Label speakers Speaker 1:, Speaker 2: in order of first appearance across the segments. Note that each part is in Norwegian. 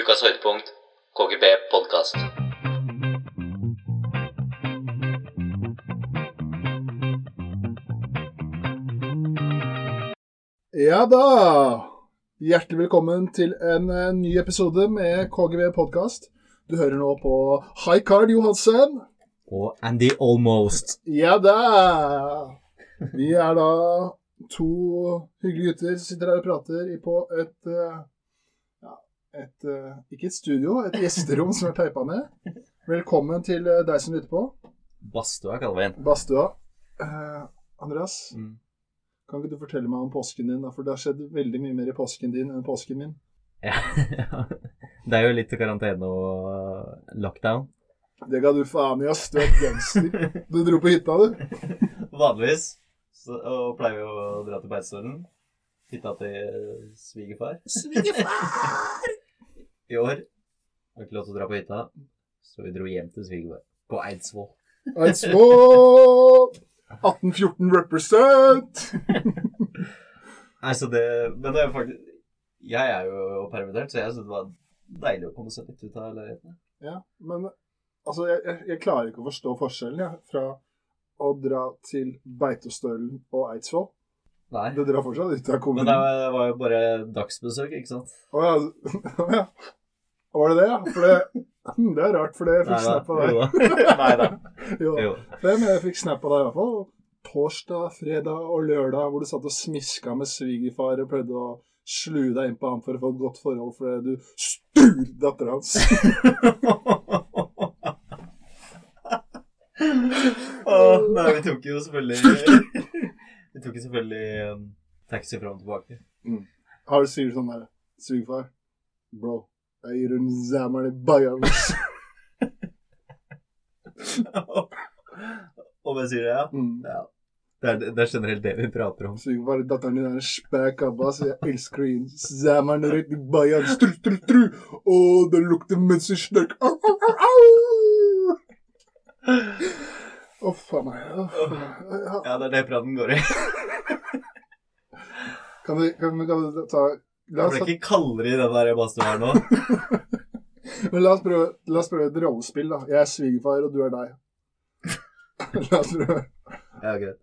Speaker 1: Ukas høydepunkt, KGB podkast.
Speaker 2: Ja da! Hjertelig velkommen til en eh, ny episode med KGB podkast. Du hører nå på High Card Johansen.
Speaker 3: og Andy Almost.
Speaker 2: Ja da! Vi er da to hyggelige gutter som sitter her og prater i- på et eh, ja, et, eh, Ikke et studio, et gjesterom som er teipa ned. Velkommen til eh, deg som lytter på.
Speaker 3: Badstua kaller vi den.
Speaker 2: Badstua. Eh, Andreas,
Speaker 3: Mm.
Speaker 2: kan ikke du fortelle meg om påsken din? da? For det har skjedd veldig mye mer i påsken din enn påsken min.
Speaker 3: Ja. det er jo litt karantene og lockdown.
Speaker 2: Det ga du faen i, ass. Du er et gangster. Du dro på hytta, du.
Speaker 4: Vanligvis så, og pleier vi å dra til Beitostølen. Hytta til eh, svigerfar. I år har vi ikke lov til å dra på hytta, så vi dro hjem til svigerfar. På Eidsvoll.
Speaker 2: Eidsvoll! 1814 represent!
Speaker 4: Nei, så det Men det er jo faktisk Jeg er jo permittert, så jeg syns det var deilig å komme seg litt ut av leiligheten.
Speaker 2: Ja, men altså, jeg, jeg, jeg klarer ikke å forstå forskjellen jeg, fra å dra til Beitostølen og Eidsvoll.
Speaker 4: Nei.
Speaker 2: Det drar fortsatt ut av
Speaker 4: Men det
Speaker 2: kommunen.
Speaker 4: var jo bare dagsbesøk, ikke sant?
Speaker 2: Å ja. å ja. Var det det, ja? For det, hm, det er rart, for det jeg fikk snap av deg.
Speaker 4: Nei da.
Speaker 2: Jo.
Speaker 4: Jo.
Speaker 2: Hvem jeg fikk snap av deg, i hvert fall. Torsdag, fredag og lørdag, hvor du satt og smiska med svigerfar og prøvde å slue deg innpå ham for å få et godt forhold fordi du stulte dattera hans.
Speaker 4: Åh, nei, vi tok jo selvfølgelig Vi tok jo selvfølgelig um, taxi fram og tilbake.
Speaker 2: Har du sier sånn der Svigerfar, bro, jeg gir en zammeren i bajan.
Speaker 4: og hvem sier det, ja?
Speaker 2: Mm.
Speaker 4: ja.
Speaker 3: Det er, det er generelt det vi prater om.
Speaker 2: Svigerfar, datteren din er en spæk abba, så jeg elsker å gi en zammeren rett i bajan. Stru, stru, stru. Å, det lukter mønstersnørk. Au, au, au, au! Uff a meg. Uff a meg. Ja.
Speaker 4: ja, det er det praten går i.
Speaker 2: Kan du, kan, du- kan du ta La
Speaker 4: Det
Speaker 2: oss,
Speaker 4: ble ikke kaldere i den der badstua her nå.
Speaker 2: men la oss, prøve, la oss prøve et rollespill, da. Jeg er svigerfar, og du er deg. la oss prøve.
Speaker 4: Ja, greit.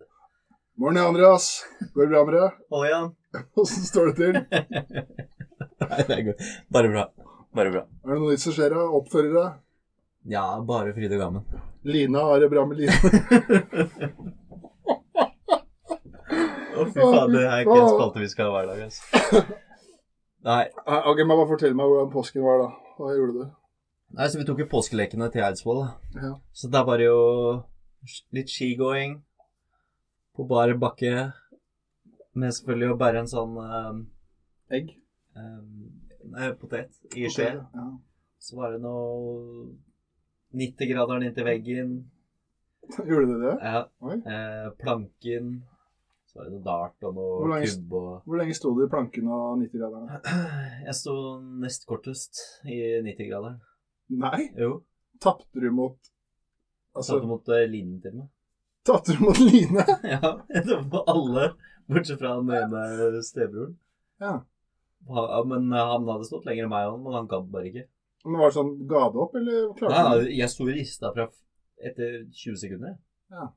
Speaker 2: Morn, Andreas. Går det bra med deg?
Speaker 4: Hold igjen.
Speaker 2: Åssen står det til?
Speaker 3: Nei, det er godt. Bare bra. Bare bra.
Speaker 2: Er det noe nytt som skjer? da? Oppfører deg?
Speaker 3: Ja, bare fryd og gammen.
Speaker 2: Lina har det bra med Lina.
Speaker 4: Å, fy faen, det er ikke en spalte vi skal ha hver dag, altså.
Speaker 3: Nei,
Speaker 2: Ah, Ok, men bare fortell meg hvordan påsken var, da. Hva gjorde du?
Speaker 3: Nei så vi tok jo påskelekene til Eidsvoll. da.
Speaker 2: Ja.
Speaker 3: Så der var det jo litt skigåing på bar bakke. Med selvfølgelig å bære en sånn
Speaker 2: Egg?
Speaker 3: eh, eh, nei, potet i skje.
Speaker 2: Ja.
Speaker 3: Så var det noe 90-graderen inntil veggen.
Speaker 2: Gjorde du det?
Speaker 3: Ja.
Speaker 2: Oi.
Speaker 3: Eh, planken. Så var det noe dart og
Speaker 2: Hvor
Speaker 3: noe
Speaker 2: lange-
Speaker 3: kubb og
Speaker 2: Hvor lenge sto du i planken og 90-graderne?
Speaker 3: Jeg sto nest kortest i 90-graderen.
Speaker 2: Nei?
Speaker 3: Jo.
Speaker 2: Tapte du mot
Speaker 3: Satt
Speaker 2: Altså,
Speaker 3: mot eh, linen til meg.
Speaker 2: tapte du mot Line?
Speaker 3: Ja, det var alle, bortsett fra den ene stebroren.
Speaker 2: Ja.
Speaker 3: Ha- ja, Men eh, han hadde stått lenger enn meg, han, men han gadd bare ikke.
Speaker 2: Men var det sånn ga det opp, eller klarte
Speaker 3: Nei,
Speaker 2: du det?
Speaker 3: nei, jeg sto og rista fra f- etter 20 sekunder. jeg.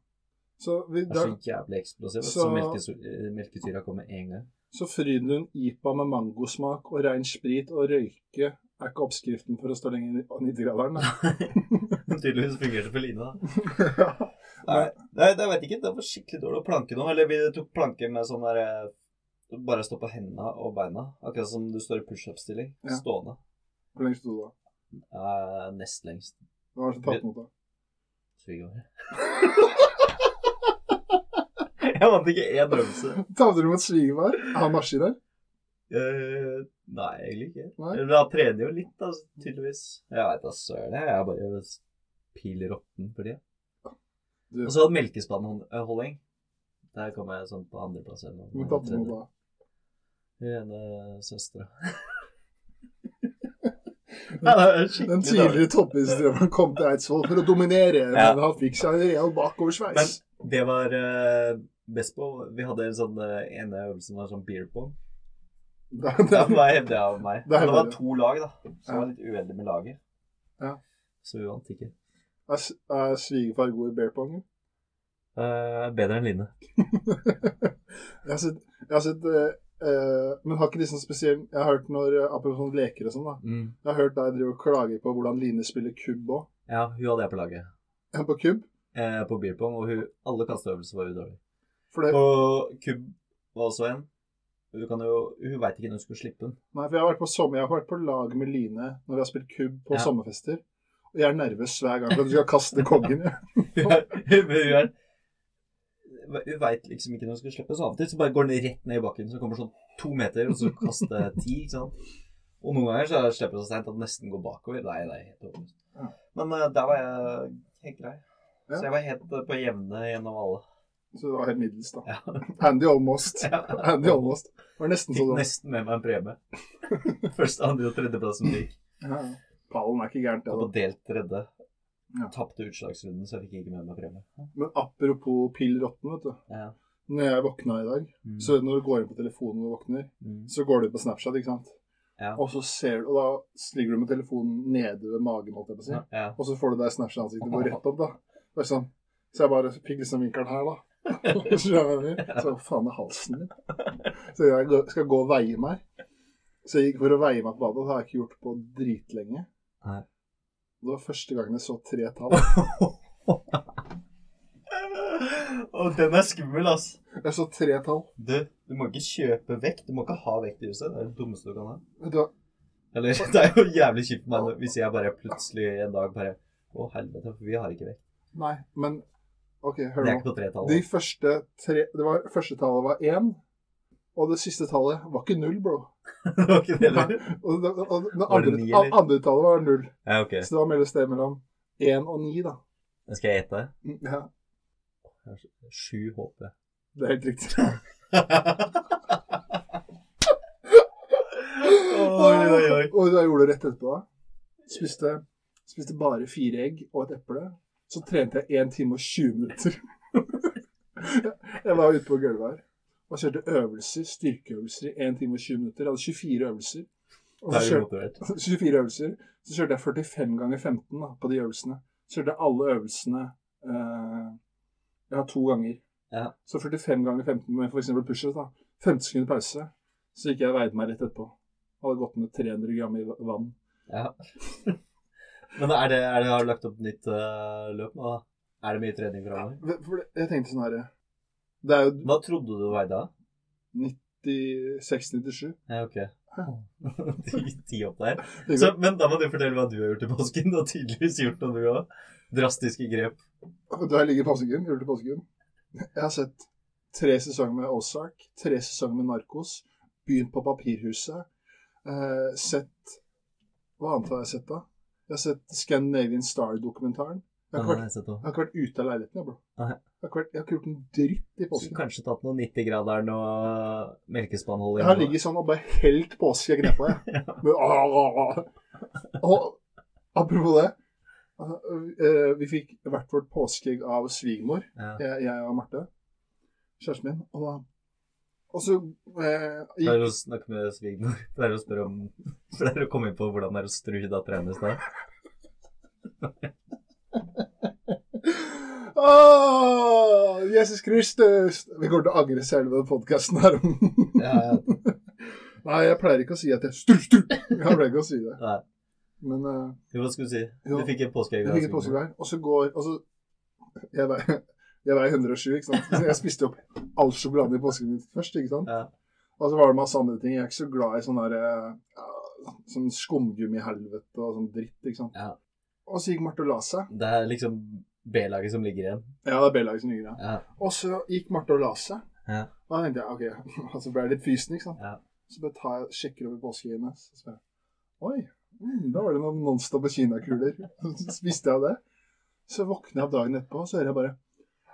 Speaker 2: Så, vi,
Speaker 3: Jeg er
Speaker 2: da,
Speaker 3: så jævlig eksplosiv. Så,
Speaker 2: Så-
Speaker 3: så melkesu- eh, melkesyra kom med en gang.
Speaker 2: så Frydenlund IPA med mangosmak og rein sprit og røyke er ikke oppskriften for å stå lenger i 90-graderen. da.
Speaker 4: Tydeligvis fungerte for Line, da.
Speaker 2: Ja.
Speaker 4: Nei, det, det vet jeg ikke. Det var skikkelig dårlig å planke nå. Eller vi tok planke med sånn der eh, Bare stå på hendene og beina. Akkurat som du står i pushup-stilling.
Speaker 2: Ja.
Speaker 4: Stående.
Speaker 2: Hvor lenge sto du da?
Speaker 3: Eh, nest lengst.
Speaker 2: Hva var det som tatt mot deg?
Speaker 3: Svigermor. jeg vant ikke én øvelse.
Speaker 2: Tapte du mot svigerfar? Han marsjer der?
Speaker 4: Eh, nei, egentlig ikke.
Speaker 2: Nei.
Speaker 4: Eller han trener jo litt, da, tydeligvis. Jeg veit da søren. jeg. Jeg er bare pil råtten for tida.
Speaker 2: Du-
Speaker 3: Og så hadde melkespannholding. Der kom jeg sånn på andreplass. eller noe.
Speaker 2: Hun tapte mot deg.
Speaker 3: Hun ene søstera. Nei, det er
Speaker 2: Den
Speaker 3: skikkelig dårlig.
Speaker 2: tidligere toppidrettsdrømmen kom til Eidsvoll for å dominere,
Speaker 3: Ja.
Speaker 2: men han fikk seg en real bakoversveis.
Speaker 3: Det var eh, best på Vi hadde en sånn eh, ene øvelsen var sånn beer pong.
Speaker 2: Det,
Speaker 4: Da
Speaker 2: det,
Speaker 4: bare hevder jeg av meg.
Speaker 2: Det er
Speaker 4: Det, var
Speaker 2: bare-
Speaker 4: to lag, da. Som
Speaker 2: Ja.
Speaker 4: var litt uheldige med laget.
Speaker 2: Ja.
Speaker 4: Så vi vant ikke.
Speaker 2: er s- er svigerfar god i bear pong? eller?
Speaker 3: Eh, bedre enn Line.
Speaker 2: Jeg har sett, jeg har sett eh, eh, Men har ikke de sånn spesiell Jeg har hørt når eh, Apropos sånne leker og sånn, da.
Speaker 3: Mm.
Speaker 2: Jeg har hørt deg drive og klage på hvordan Line spiller kubb òg.
Speaker 3: Ja, hun hadde jeg på laget.
Speaker 2: På kubb.
Speaker 3: Eh, på beer pong, og hun, alle kasteøvelser var hun dårlig.
Speaker 2: For, det,
Speaker 4: Og Kubb var også en. Hun, kan jo, hun veit ikke når hun skal slippe den.
Speaker 2: nei, for jeg har vært på sommer Jeg har vært på lag med Line når vi har spilt kubb på
Speaker 3: Ja.
Speaker 2: sommerfester. Og jeg er nervøs hver gang for at du skal kaste kongen. jeg.
Speaker 4: Hun er- hun er- hun veit liksom ikke når hun skal slippe, så av og til så bare går den rett ned i bakken. Så kommer sånn to meter, og så kaster ti. ikke sant? Og noen ganger så slipper det så seint at den nesten går bakover. Nei, det er helt håpløst. Men eh, der var jeg helt grei.
Speaker 2: Ja.
Speaker 4: Så jeg var helt eh, på jevne gjennom alle.
Speaker 2: Så det var helt middels, da.
Speaker 4: Ja.
Speaker 2: Handy almost.
Speaker 4: Ja.
Speaker 2: Handy almost. Det var nesten
Speaker 4: Fikk
Speaker 2: sånn.
Speaker 4: nesten med meg en premie. Første, andre og tredjeplass som gikk.
Speaker 2: Ja, ja. Pallen er ikke gærent, det.
Speaker 4: Og
Speaker 2: da.
Speaker 4: på delt tredje.
Speaker 2: Ja.
Speaker 4: Tapte utslagsrunden, så jeg fikk ikke med meg premie.
Speaker 2: Men apropos pill råtten, vet du.
Speaker 4: Ja.
Speaker 2: Når jeg våkna i dag,
Speaker 4: Mm.
Speaker 2: så når du går inn på telefonen og våkner,
Speaker 4: Mm.
Speaker 2: så går du inn på Snapchat, ikke sant?
Speaker 4: Ja.
Speaker 2: Og så ser du, og da ligger du med telefonen nede ved magen, holdt jeg på å si.
Speaker 4: Mm. ja.
Speaker 2: Og så får du deg Snapchat-ansiktet går rett opp, da. Bare sånn. Så jeg bare fikk liksom vinkelen her, da. Skjønner du hva jeg mener? så faen med halsen min. Så jeg går- skal gå og veie meg. Så jeg gikk for å veie meg på badet, og det har jeg ikke gjort på dritlenge.
Speaker 3: Nei.
Speaker 2: Det var første gangen jeg så tre tall.
Speaker 4: Og den er skummel, ass.
Speaker 2: Jeg så tre tall.
Speaker 4: Du, du må ikke kjøpe vekt. Du må ikke ha vekt i huset. Det er det dummeste du kan ha.
Speaker 2: Vet du hva?
Speaker 4: Eller, det er jo jævlig kjipt med det hvis jeg bare plutselig en dag bare Å, helvete, for vi har ikke vekt.
Speaker 2: Nei, men OK, hør nå.
Speaker 4: Det er ikke på tretallet.
Speaker 2: De første tre Det var, første tallet var én, og det siste tallet var ikke null, bro.
Speaker 4: Det var ikke det heller.
Speaker 2: Og det, og det, det
Speaker 4: Var det
Speaker 2: andre,
Speaker 4: ni, eller?
Speaker 2: andre tallet var null.
Speaker 3: Ja, ok.
Speaker 2: Så det var mellom sted mellom én og ni, da.
Speaker 3: Skal jeg gjette?
Speaker 2: Mm, Ja,
Speaker 3: Sju HP.
Speaker 2: det er helt riktig.
Speaker 4: Oi, oi, oi.
Speaker 2: Og da gjorde du rett etterpå, da. Spiste, spiste bare fire egg og et eple. Så trente jeg 1 time og 20 minutter. jeg var ute på gulvet her og kjørte øvelser, styrkeøvelser i 1 time og 20 minutter. Jeg hadde 24 øvelser. Og
Speaker 4: Det
Speaker 2: så
Speaker 4: er
Speaker 2: kjørte
Speaker 4: jo motivert.
Speaker 2: 24 øvelser. Så kjørte jeg 45 ganger 15 da, på de øvelsene. Så kjørte jeg alle øvelsene eh, ja, to ganger.
Speaker 4: Ja.
Speaker 2: Så 45 ganger 15 med f.eks. pushups. da. 15 sekunder pause. Så gikk jeg og veide meg rett etterpå. Hadde gått ned 300 gram i vann.
Speaker 4: Ja. Men er det, er det, har du lagt opp nytt eh, løp nå? da? Er det mye trening framover?
Speaker 2: For- for Jeg tenkte sånn her Det er jo
Speaker 4: Hva trodde du veide av?
Speaker 2: 96-97.
Speaker 4: Ja, ok. Ti- Ti opp der.
Speaker 2: Tenkte-
Speaker 4: Så, men da må du fortelle hva du har gjort i påsken. Du har tydeligvis gjort noe, du òg. Drastiske grep.
Speaker 2: Vet Du har ligget i påsken, gjorde det i påsken. Jeg har sett tre sesonger med Ozark, tre sesonger med Narkos, begynt på Papirhuset, eh, sett Hva annet har jeg sett, da? Jeg har sett Scandinavian Star-dokumentaren. Jeg,
Speaker 3: Den
Speaker 2: har
Speaker 3: har
Speaker 2: ikke vært-
Speaker 3: jeg sett også.
Speaker 2: jeg har ikke vært ute av leiligheten, jeg, bro.
Speaker 3: Nei.
Speaker 2: Jeg har, ikke vært, jeg har ikke gjort en dritt i
Speaker 3: Skulle
Speaker 2: påsken.
Speaker 3: kanskje tatt noe 90-graderen og melkespannhold
Speaker 2: Jeg har ligget sånn og bare helt påskeegg nedpå, jeg. Men, ah, Og apropos det. eh, Vi fikk hvert vårt påskeegg av svigermor.
Speaker 3: Ja.
Speaker 2: jeg, jeg og Marte, kjæresten min, og da og så eh,
Speaker 3: Pleier å
Speaker 2: gikk,
Speaker 3: snakke med svigermor. Pleier å spørre om Pleier å komme inn på hvordan det er å stru dattera hennes da.
Speaker 2: Åh, Jesus Kristus! Vi kommer til å angre selve podkasten her.
Speaker 4: Ja, ja.
Speaker 2: Nei, jeg pleier ikke å si at jeg stru, stru. Jeg pleier ikke å si det.
Speaker 3: Nei.
Speaker 2: Men eh,
Speaker 4: Jo, Hva skulle du si?
Speaker 2: Jo.
Speaker 4: Du fikk et påskeegg.
Speaker 2: jeg
Speaker 4: av
Speaker 2: fikk et
Speaker 4: svigermor.
Speaker 2: påskevær, og så går og så, jeg, veier, jeg veier 107, ikke sant? Så jeg spiste opp all sjokoladen i påsken min først, ikke sant?
Speaker 4: Ja.
Speaker 2: Og så var det masse andre ting. Jeg er ikke så glad i sånn der eh, ja, sånn skumgummihelvete og sånn dritt, ikke sant.
Speaker 4: Ja.
Speaker 2: Og så gikk Marte og la seg.
Speaker 4: Det er liksom B-laget som ligger igjen.
Speaker 2: Ja, det er B-laget som ligger der.
Speaker 4: Ja.
Speaker 2: Og så gikk Marte og la seg.
Speaker 3: Ja.
Speaker 2: Og da tenkte jeg, ok, og så ble jeg litt fysen, ikke sant.
Speaker 4: Ja.
Speaker 2: Så bare tar jeg, sjekker over påskeeggen hennes, og så spør jeg, oi, mm, da var det noen nonstop kinakuler. Så spiste jeg det. Så våkner jeg opp dagen etterpå, og så hører jeg bare,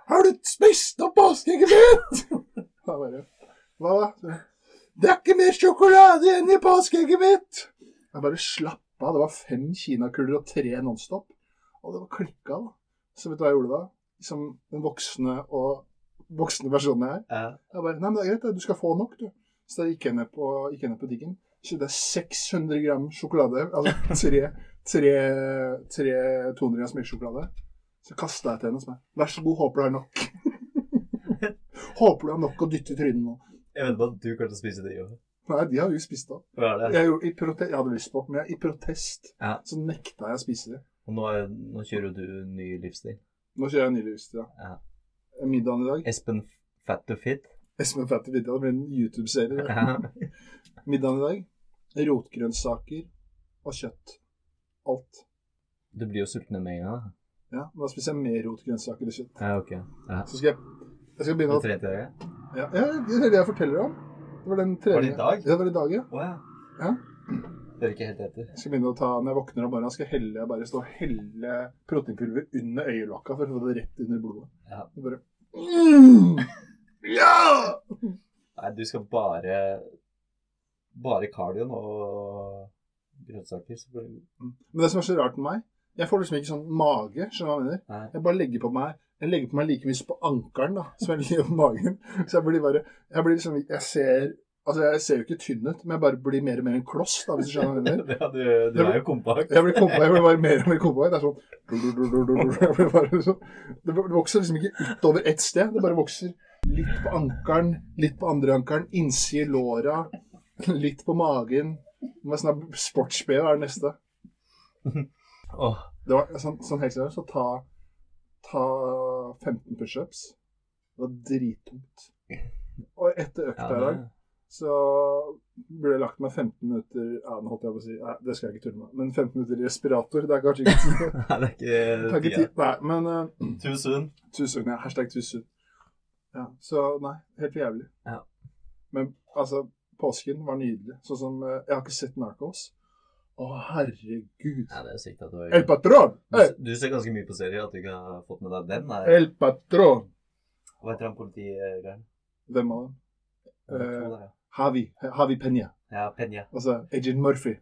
Speaker 2: har du spist opp påskeegget mitt? Da bare, hva da? Så jeg, Det er ikke mer sjokolade enn i påskeegget mitt! Jeg bare slapp av, det var fem kinakuler og tre nonstop. Og det var klikket da. Så vet du hva jeg gjorde da? Som den voksne liksom, og voksne versjonen jeg er.
Speaker 4: Ja.
Speaker 2: Jeg bare, nei, men det er greit, du skal få nok, du. Så da gikk jeg ned på, gikk jeg ned på diggen. Kjøpte jeg 600 gram sjokolade, altså tre, tre, tre 200 gram melkesjokolade. Så kasta jeg til henne og sa vær så god, håper du har nok. håper du har nok å dytte i trynet nå.
Speaker 4: Jeg venter på at du kommer til å spise det. Jo.
Speaker 2: Nei, de har vi spist opp.
Speaker 4: Hva er det?
Speaker 2: Jeg, gjorde, i prote jeg hadde lyst på, men jeg, i protest
Speaker 4: Ja.
Speaker 2: så nekta jeg å spise det.
Speaker 4: Og nå, er, nå kjører jo du ny livsstil.
Speaker 2: Nå kjører jeg nylig lyst til det.
Speaker 4: Ja.
Speaker 2: Middagen i dag.
Speaker 4: Espen Fat to Fit.
Speaker 2: Espen Fatty Video, det blir en YouTube-serie. det.
Speaker 4: Ja.
Speaker 2: Middagen i dag. Rotgrønnsaker og kjøtt. Alt.
Speaker 4: Du blir jo sulten med en gang. da.
Speaker 2: Ja, men da spiser jeg mer rotgrønnsaker og kjøtt.
Speaker 4: Ja, ok. Ja.
Speaker 2: Så skal jeg, jeg skal begynne å
Speaker 4: Det er tredje dagen.
Speaker 2: ja, ja, Det er det jeg forteller om. Det var den treningen.
Speaker 4: dag?
Speaker 2: Ja, det var i dag, ja.
Speaker 4: Å ja.
Speaker 2: Ja.
Speaker 4: Det er ikke helt etter.
Speaker 2: Jeg skal begynne å ta, Når jeg våkner om morgenen, skal jeg helle, jeg bare stå og helle proteinpulver under øyelokka for å få det rett under blodet.
Speaker 4: Ja.
Speaker 2: Og bare mm! Ja!
Speaker 4: Nei, du skal bare Bare kardioen og grønnsaker. Så blir det
Speaker 2: Men det som er så rart med meg, jeg får liksom ikke sånn mage. skjønner du hva jeg mener?
Speaker 4: Nei.
Speaker 2: Jeg bare legger på meg jeg legger på meg like mye på ankelen da, som jeg legger på magen. Så jeg blir bare Jeg blir liksom, jeg ser altså jeg ser jo ikke tynn ut, men jeg bare blir mer og mer en kloss, da, hvis du skjønner hva jeg mener.
Speaker 4: Ja, du, du er jo kompakt.
Speaker 2: Jeg blir, kompa, jeg blir bare mer og mer kompa. Det er sånn jeg blir bare sånn. Det vokser liksom ikke utover ett sted. Det bare vokser litt på ankelen, litt på andre ankelen, innsida i låra, litt på magen. Det var sånn der Sports-BH er det neste.
Speaker 4: Åh,
Speaker 2: Det var sånn, sånn helt seriøst, så ta, ta 15 pushups. Det var drittungt. Og etter
Speaker 4: ja,
Speaker 2: økta i
Speaker 4: det,
Speaker 2: dag så burde jeg lagt meg 15 minutter ja, nå holdt jeg på å si, nei, det skal jeg ikke tulle med, men 15 minutter i respirator. Det er kanskje ikke tid.
Speaker 4: Nei, det er
Speaker 2: Det
Speaker 4: ikke
Speaker 2: tar ikke tid. Nei, men eh,
Speaker 4: Tusen.
Speaker 2: Tusen, ja. Hashtag tusen. Ja, så nei, helt jævlig.
Speaker 4: Ja.
Speaker 2: Men altså, påsken var nydelig. Sånn som eh, Jeg har ikke sett Narcos. Å, herregud.
Speaker 4: Nei, det er sykt at du
Speaker 2: El patron!
Speaker 4: Du,
Speaker 2: Eh,
Speaker 4: du ser ganske mye på serier at du ikke har fått med deg den. Nei.
Speaker 2: El patron!
Speaker 4: Hva heter han politigreien?
Speaker 2: Hvem av dem? Eh,
Speaker 4: Uh,
Speaker 2: Havi. Havi Penya.
Speaker 4: ja, Peña.
Speaker 2: Altså Agent Murphy.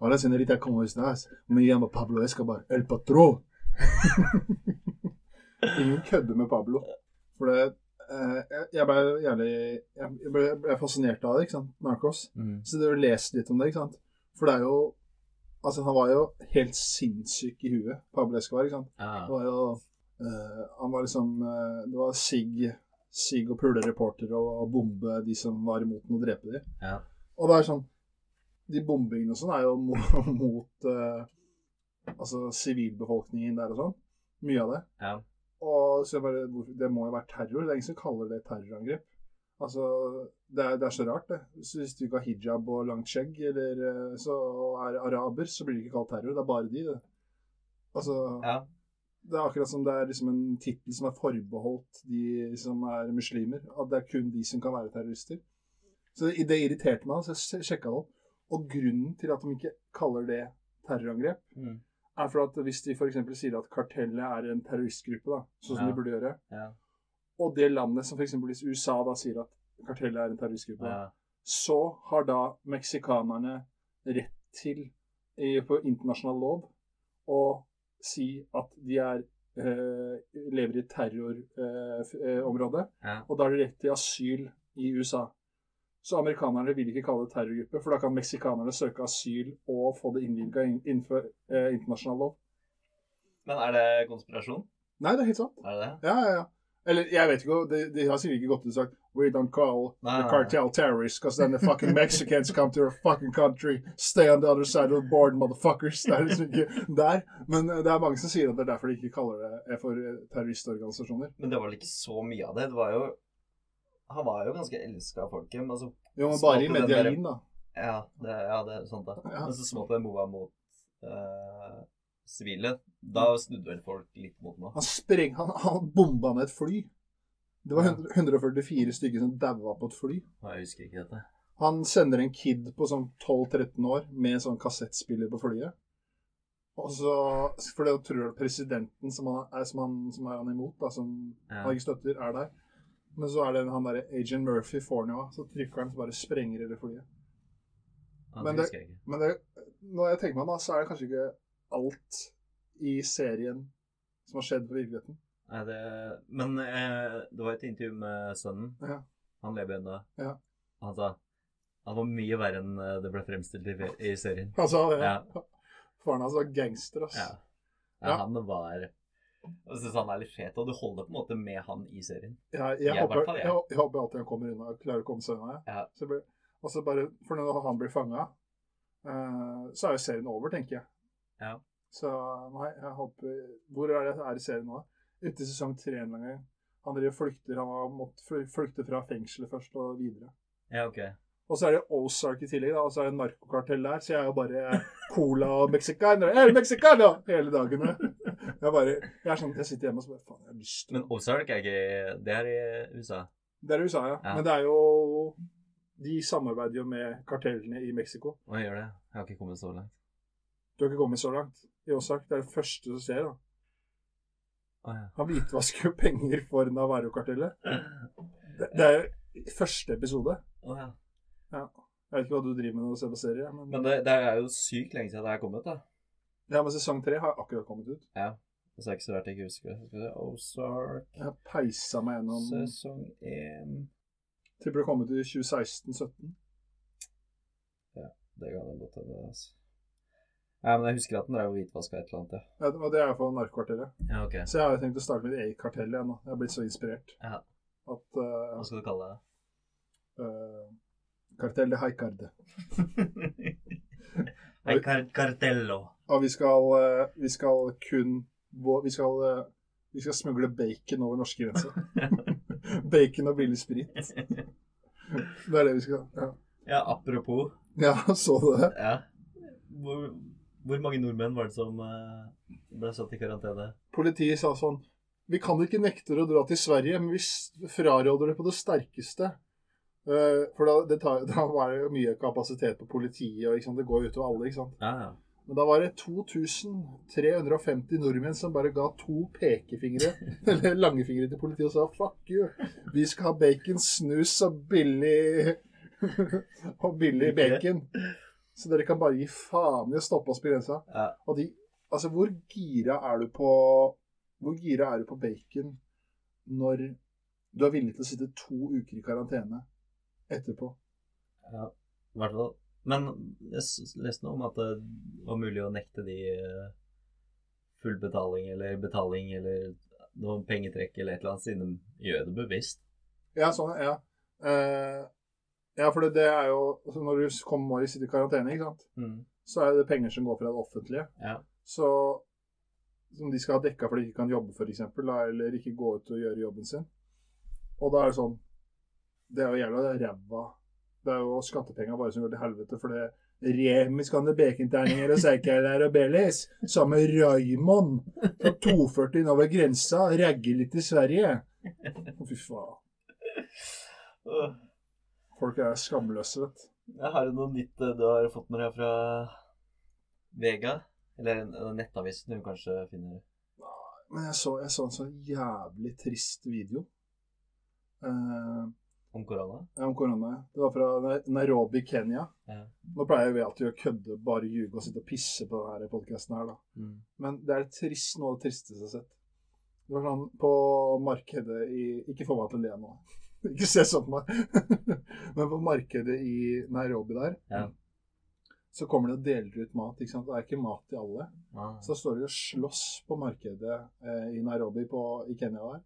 Speaker 2: Hola, señorita, ¿cómo estás? Me llamo Pablo Escobar. El patron! Ingen kødder med Pablo. For det eh, jeg- Jeg ble jævlig Jeg ble, jeg ble fascinert av det, ikke sant? Narcos.
Speaker 4: Mm.
Speaker 2: Så det er jo lest litt om det, ikke sant? For det er jo Altså, han var jo helt sinnssyk i huet, Pablo Escobar, ikke sant?
Speaker 4: Ja.
Speaker 2: Det var jo eh, Han var liksom eh, Det var sigg sig og pule reportere og, og bombe de som var imot den, og drepe de.
Speaker 4: Ja.
Speaker 2: Og det er sånn De bombingene og sånn er jo mot, mot eh, altså sivilbefolkningen der og sånn. Mye av det.
Speaker 4: Ja.
Speaker 2: Og så jeg bare hvorfor- Det må jo være terror. Det er ingen som kaller det terrorangrep. Altså, det er, det er så rart, det. Så hvis du ikke har hijab og langt skjegg eller, eh, så, og er araber, så blir det ikke kalt terror. Det er bare de, det. Altså,
Speaker 4: ja.
Speaker 2: det er akkurat som det er liksom en tittel som er forbeholdt de som er muslimer. At det er kun de som kan være terrorister. Så det, det irriterte meg, så jeg sjekka det opp. Og grunnen til at de ikke kaller det terrorangrep,
Speaker 4: Mm.
Speaker 2: er for at hvis de f.eks. sier at kartellet er en terroristgruppe, da, sånn som
Speaker 4: Ja.
Speaker 2: de burde gjøre,
Speaker 4: Ja.
Speaker 2: og det landet som f.eks. hvis USA da sier at kartellet er en terroristgruppe,
Speaker 4: ja.
Speaker 2: så har da meksikanerne rett til, i, på internasjonal lov, å si at de er, eh, lever i terrorområdet, eh, område,
Speaker 4: Ja.
Speaker 2: og da har de rett til asyl i USA. Så amerikanerne vil ikke kalle det terrorgruppe, for da kan meksikanerne søke asyl og få det innvilga innenfor eh, internasjonal lov.
Speaker 4: Men er det konspirasjon?
Speaker 2: Nei, det er helt sant.
Speaker 4: Er det det?
Speaker 2: Ja, ja, ja. Eller jeg vet ikke, de, de har sikkert ikke gått ut og sagt We don't call
Speaker 4: Nei, nei,
Speaker 2: the
Speaker 4: nei.
Speaker 2: cartel terrorists because then the fucking Mexicans come to our fucking country. Stay on the other side of the board, motherfuckers. Det er liksom ikke der. Men eh, det er mange som sier at det er derfor de ikke kaller det eh, for eh, terroristorganisasjoner.
Speaker 4: Men det var vel ikke så mye av det. Det var jo Han var jo ganske elska av folket. Men altså
Speaker 2: Jo, men bare i
Speaker 4: Skaper den der-
Speaker 2: Medialin, da.
Speaker 4: Ja, det, ja, det er sant, det.
Speaker 2: Ja.
Speaker 4: Men så smått den moa mot eh, sivile. Da
Speaker 2: Mm.
Speaker 4: snudde vel folk litt mot nå.
Speaker 2: Han spreng... Han, han bomba ned et fly. Det var
Speaker 4: Ja.
Speaker 2: 100 144 stykker som daua på et fly.
Speaker 4: Jeg husker ikke dette.
Speaker 2: Han sender en kid på sånn 12-13 år med sånn kassettspiller på flyet. Og så, For det tror jeg presidenten som han er, som han, som er han imot, da, som
Speaker 4: Ja.
Speaker 2: han ikke støtter, er der. Men så er det han derre Agent Murphy får den jo av. Så trykker han, så bare sprenger hele flyet.
Speaker 4: Ja,
Speaker 2: Men
Speaker 4: det
Speaker 2: det-
Speaker 4: husker jeg ikke.
Speaker 2: Men det, når jeg tenker meg om, da, så er det kanskje ikke alt i serien som har skjedd på virkeligheten.
Speaker 4: Nei, det, men eh, det var et intervju med sønnen.
Speaker 2: Ja.
Speaker 4: Han lever ennå.
Speaker 2: Ja.
Speaker 4: Og han sa han var mye verre enn eh, det ble fremstilt i, i serien.
Speaker 2: Han sa det.
Speaker 4: Ja.
Speaker 2: Altså, Faren hans var gangster, ass.
Speaker 4: Ja. ja,
Speaker 2: Ja.
Speaker 4: han var Jeg syns han er litt fet, og du holder på en måte med han i serien.
Speaker 2: Jeg, jeg,
Speaker 4: Jeg, i
Speaker 2: håper,
Speaker 4: hvert fall, jeg.
Speaker 2: jeg. hå- jeg håper alltid han kommer unna og klarer å komme seg unna. jeg.
Speaker 4: Ja.
Speaker 2: Så blir- Og så bare, For når han blir fanga, så er jo serien over, tenker jeg.
Speaker 4: Ja.
Speaker 2: Så nei, jeg håper Hvor er det er i serien nå? Ute i sesong tre en eller annen gang. Han driver og flykter, han har måttet fly- flykte fra fengselet først og videre.
Speaker 4: Ja, ok.
Speaker 2: Og så er det Ozark i tillegg, da, og så er det narkokartell der. Så jeg er jo bare cola og mexicaner El mexicano! hele dagen. Jeg, jeg, bare, jeg, er sånn, jeg sitter hjemme og så bare Faen, jeg har lyst til
Speaker 4: Men Ozark er ikke Det er i USA.
Speaker 2: Det er i USA, ja.
Speaker 4: Ja.
Speaker 2: Men det er jo De samarbeider jo med kartellene i Mexico.
Speaker 4: Hva gjør det? Jeg har ikke kommet så langt.
Speaker 2: Du har ikke kommet så langt i Ozark. Det er det første som skjer. da.
Speaker 4: Å, ja.
Speaker 2: Han hvitvasker jo penger for Navarro-kartellet. Det, det er jo i første episode.
Speaker 4: Å, ja.
Speaker 2: Jeg vet ikke hva du driver med når du ser på serie, men,
Speaker 4: Men det, det er jo sykt lenge siden det her kom ut, da.
Speaker 2: ja, men sesong tre har akkurat kommet ut.
Speaker 4: Så det er ikke så rart jeg ikke husker det. Skal vi se, Ozark
Speaker 2: Jeg har peisa meg gjennom
Speaker 4: sesong én
Speaker 2: Tipper det kom ut i 2016-17.
Speaker 4: Det kan jeg godt hende, altså. Nei, men jeg husker at den drev og hvitvaska et eller annet, ja.
Speaker 2: Ja, det var- det er iallfall narkokartellet.
Speaker 4: Ja, ok.
Speaker 2: Så jeg har jo tenkt å starte mitt eget kartell igjen. nå. Jeg er blitt så inspirert.
Speaker 4: Ja.
Speaker 2: At uh,
Speaker 4: Hva skal du kalle det?
Speaker 2: uh, Kartell de Haikarde.
Speaker 4: Nei, kar cartello.
Speaker 2: Og vi skal, eh, vi skal kun vå- vi skal, eh, vi skal smugle bacon over norske grenser. bacon og billig sprit. Det er det vi skal. Ja,
Speaker 4: Ja, apropos.
Speaker 2: ja så du det?
Speaker 4: Ja. Hvor, hvor mange nordmenn var det som eh, ble satt i karantene?
Speaker 2: Politiet sa sånn Vi kan ikke nekte dere å dra til Sverige, men vi s- fraråder det på det sterkeste. Eh, For da, det tar, da var det jo mye kapasitet på politiet, og ikke sant? det går jo utover alle. ikke sant?
Speaker 4: Ja, ja.
Speaker 2: Men da var det 2350 nordmenn som bare ga to pekefingre, eller langefingre til politiet og sa fuck you, vi skal ha bacon, snus og billig og billig bacon. Så dere kan bare gi faen i å stoppe oss på grensa.
Speaker 4: Ja.
Speaker 2: Og de, altså, hvor gira er du på Hvor gira er du på bacon når du er villig til å sitte to uker i karantene etterpå?
Speaker 4: I hvert fall. Men jeg s- leste noe om at det var mulig å nekte de eh, full betaling eller betaling eller noe pengetrekk eller et eller annet, siden de gjør det bevisst.
Speaker 2: Ja, sånn, ja. Eh, ja, for det, det er jo altså Når du kommer og sitter i karantene, ikke sant,
Speaker 4: Mm.
Speaker 2: så er det penger som går fra det offentlige.
Speaker 4: Ja.
Speaker 2: Så Som de skal ha dekka fordi de ikke kan jobbe, f.eks., eller ikke gå ut og gjøre jobben sin. Og da er det sånn Det er jo jævla ræva Det er jo skattepengene våre som går til helvete, for det Remi skal ha baconterninger og seikeler og bellies. Sammen med Raymond. Fra 240 innover grensa. Ragger litt i Sverige. Å, Fy faen.
Speaker 4: Åh.
Speaker 2: Folk er skamløse, vet du.
Speaker 4: Jeg har jo noe nytt eh, du har fått med deg fra Vega. Eller en, en nettavis du kanskje finner.
Speaker 2: Men jeg så, jeg så en sånn jævlig trist video eh,
Speaker 4: Om korona?
Speaker 2: om korona. Det var fra Nai- Nairobi, Kenya.
Speaker 4: Ja.
Speaker 2: Nå pleier vi alltid å kødde, bare ljuge og sitte og pisse på denne podkasten her, da.
Speaker 4: Mm.
Speaker 2: Men det er det trist, noe av det tristeste jeg har sett. Det var sånn på markedet i Ikke få meg til å le nå. Ikke se sånn på meg. Men på markedet i Nairobi der,
Speaker 4: Ja.
Speaker 2: så kommer de og deler ut mat. ikke sant? Det er ikke mat til alle.
Speaker 4: Ah.
Speaker 2: Så står de og slåss på markedet eh, i Nairobi på, i Kenya der.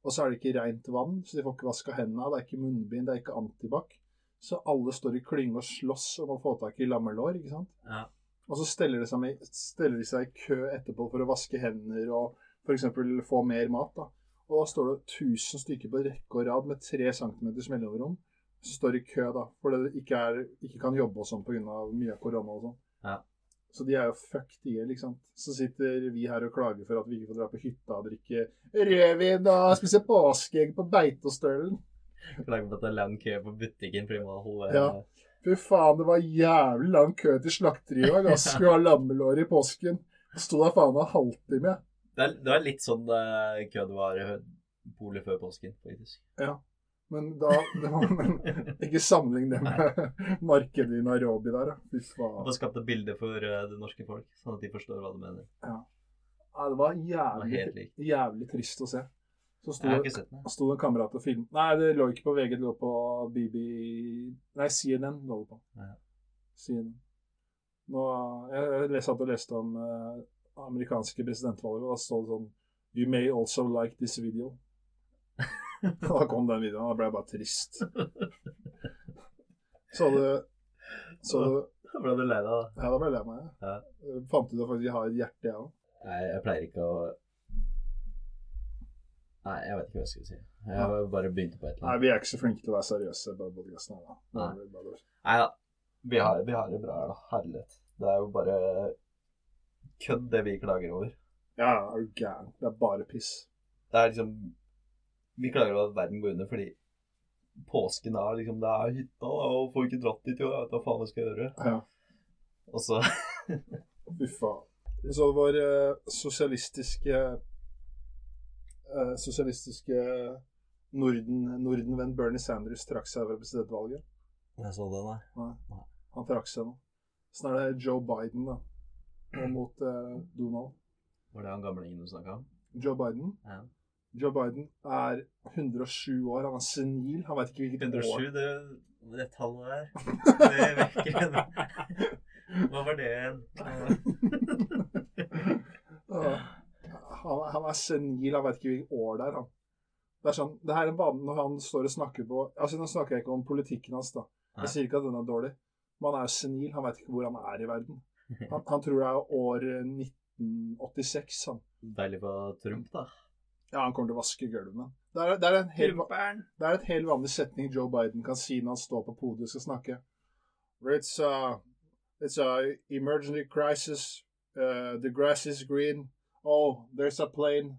Speaker 2: Og så er det ikke rent vann, så de får ikke vaska hendene. Det er ikke munnbind, det er ikke antibac. Så alle står i klynge og slåss om å få tak i lammelår, ikke sant.
Speaker 4: Ja.
Speaker 2: Og så steller de, seg med, steller de seg i kø etterpå for å vaske hender og f.eks. få mer mat. da. Og da står det 1000 stykker på rekke og rad med 3 cm mellomrom som står i kø da, fordi de ikke, er, ikke kan jobbe og sånn pga. mye av korona og sånn.
Speaker 4: Ja.
Speaker 2: Så de er jo fucked i hjel, ikke sant. Så sitter vi her og klager for at vi ikke får dra på hytta og drikke rødvin og spise påskeegg på Beitostølen.
Speaker 4: Klager på at det er lang kø på butikken fordi man holder
Speaker 2: Ja. Fy faen, det var jævlig lang kø til slakteriet i dag. ass. Skulle ha lammelår i påsken. Sto der faen meg en halvtime.
Speaker 4: det, er, det er litt sånn eh, kø det var i polet før påsken, faktisk.
Speaker 2: Men da det var, men, Ikke sammenlign det med markedet i Nairobi der, da. Fy
Speaker 4: Og
Speaker 2: faen.
Speaker 4: det skapte bilder for eh, det norske folk, sånn at de forstår hva du mener.
Speaker 2: Ja, det var
Speaker 4: Det var
Speaker 2: jævlig,
Speaker 4: helt likt.
Speaker 2: jævlig trist å se. Så sto,
Speaker 4: Jeg har ikke sett den.
Speaker 2: sto en kamerat og filmet Nei, det lå ikke på VG, det lå på BB Nei, CNN lå det på.
Speaker 4: Ja.
Speaker 2: CNN. Nå, jeg, jeg les- satt og leste om eh, amerikanske presidentvalget, og da står det sånn You may also like this video. da kom den videoen, og da ble jeg bare trist. Så det Så det
Speaker 4: Da ble du lei deg, da.
Speaker 2: Ja, da ble jeg lei meg.
Speaker 4: Ja.
Speaker 2: Jeg Fant ut at faktisk jeg har et hjerte, jeg òg.
Speaker 4: Nei, jeg pleier ikke å Nei, jeg vet ikke hva jeg skulle si. Jeg bare begynte på et eller
Speaker 2: Nei,
Speaker 4: annet.
Speaker 2: vi er ikke så flinke til å være seriøse på podkasten her, da.
Speaker 4: Nei.
Speaker 2: Det er bare dårlig.
Speaker 4: Nei da. Vi har, vi har det bra her, da. Herlighet. Det er jo bare kødd, det vi klager over.
Speaker 2: Ja, ja, er du gæren. Det er bare piss.
Speaker 4: Det er liksom Vi klager over at verden går under fordi påsken er liksom Det er hytta, da, og folk har ikke dratt dit, jo. Jeg vet da faen hva jeg skal gjøre.
Speaker 2: Ja.
Speaker 4: Og så
Speaker 2: Fy faen. Så det var eh, sosialistiske eh, Sosialistiske Norden, Nordenvenn Bernie Sanders trakk seg ved presidentvalget.
Speaker 4: Jeg så den, nei.
Speaker 2: Han trakk seg nå. Sånn er det Joe Biden, da. Og mot eh, Donald.
Speaker 4: Var det han gamlingen du snakka om?
Speaker 2: Joe Biden.
Speaker 4: Ja.
Speaker 2: Joe Biden er 107 år. Han er senil. Han veit ikke hvilket år
Speaker 4: 107, det, det tallet der Det vekker en Hva var det igjen?
Speaker 2: Ja. Han, han er senil, han vet ikke hvilket år det er. Han. Det er sånn, det her er banen når han står og snakker på altså Nå snakker jeg ikke om politikken hans, da.
Speaker 4: Nei.
Speaker 2: Jeg sier ikke at den er dårlig. Men han er jo senil, han vet ikke hvor han er i verden. Han, han tror det er år 1986, han.
Speaker 4: Deilig på Trump, da.
Speaker 2: Ja, han kommer til å vaske gulvet. Det er, det, er en hel,
Speaker 4: Trumperen!
Speaker 2: det er et helt vanlig setning Joe Biden kan si når han står på podiet og skal snakke. It's a, it's a emergency crisis. Uh, the grass is green. Oh, there's a plane.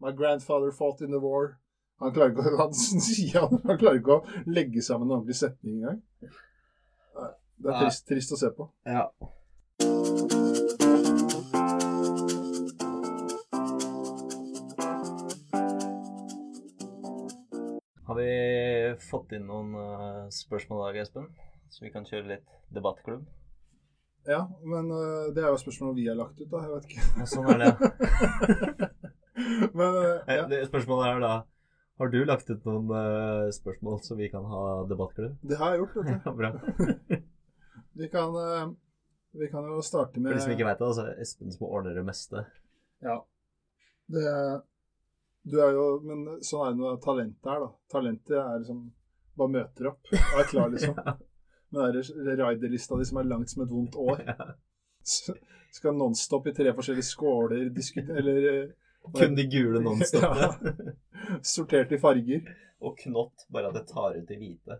Speaker 2: My grandfather fought in the war. Han klarer ikke, å- han, sier han, han klarer ikke å legge sammen en ordentlig setning engang. Nei, Det er
Speaker 4: Nei.
Speaker 2: trist, trist å se på.
Speaker 4: Ja. Har vi fått inn noen eh, spørsmål i dag, Espen? Så vi kan kjøre litt debattklubb?
Speaker 2: Ja, men eh, det er jo spørsmål vi har lagt ut, da. Jeg vet ikke.
Speaker 4: Ja, sånn er det.
Speaker 2: Men eh,
Speaker 4: Eh,
Speaker 2: ja,
Speaker 4: det- Spørsmålet er jo da Har du lagt ut noen eh, spørsmål så vi kan ha debattklubb?
Speaker 2: det har jeg gjort, vet du.
Speaker 4: Ja, Bra.
Speaker 2: Vi kan, eh, vi kan jo starte
Speaker 4: For
Speaker 2: med
Speaker 4: de som ikke vet det, så er Espen som ordner det meste.
Speaker 2: Ja. Det, du er jo Men sånn er det noe talent her, da. Talentet er liksom Bare møter opp og er klar, liksom. Men det er riderlista di som er langt som et vondt år. S- Skal nonstop i tre forskjellige skåler diskutere Eller eh,
Speaker 4: Kun de gule nonstopene.
Speaker 2: ja. Sortert i farger.
Speaker 4: Og knott, bare at jeg tar ut de hvite.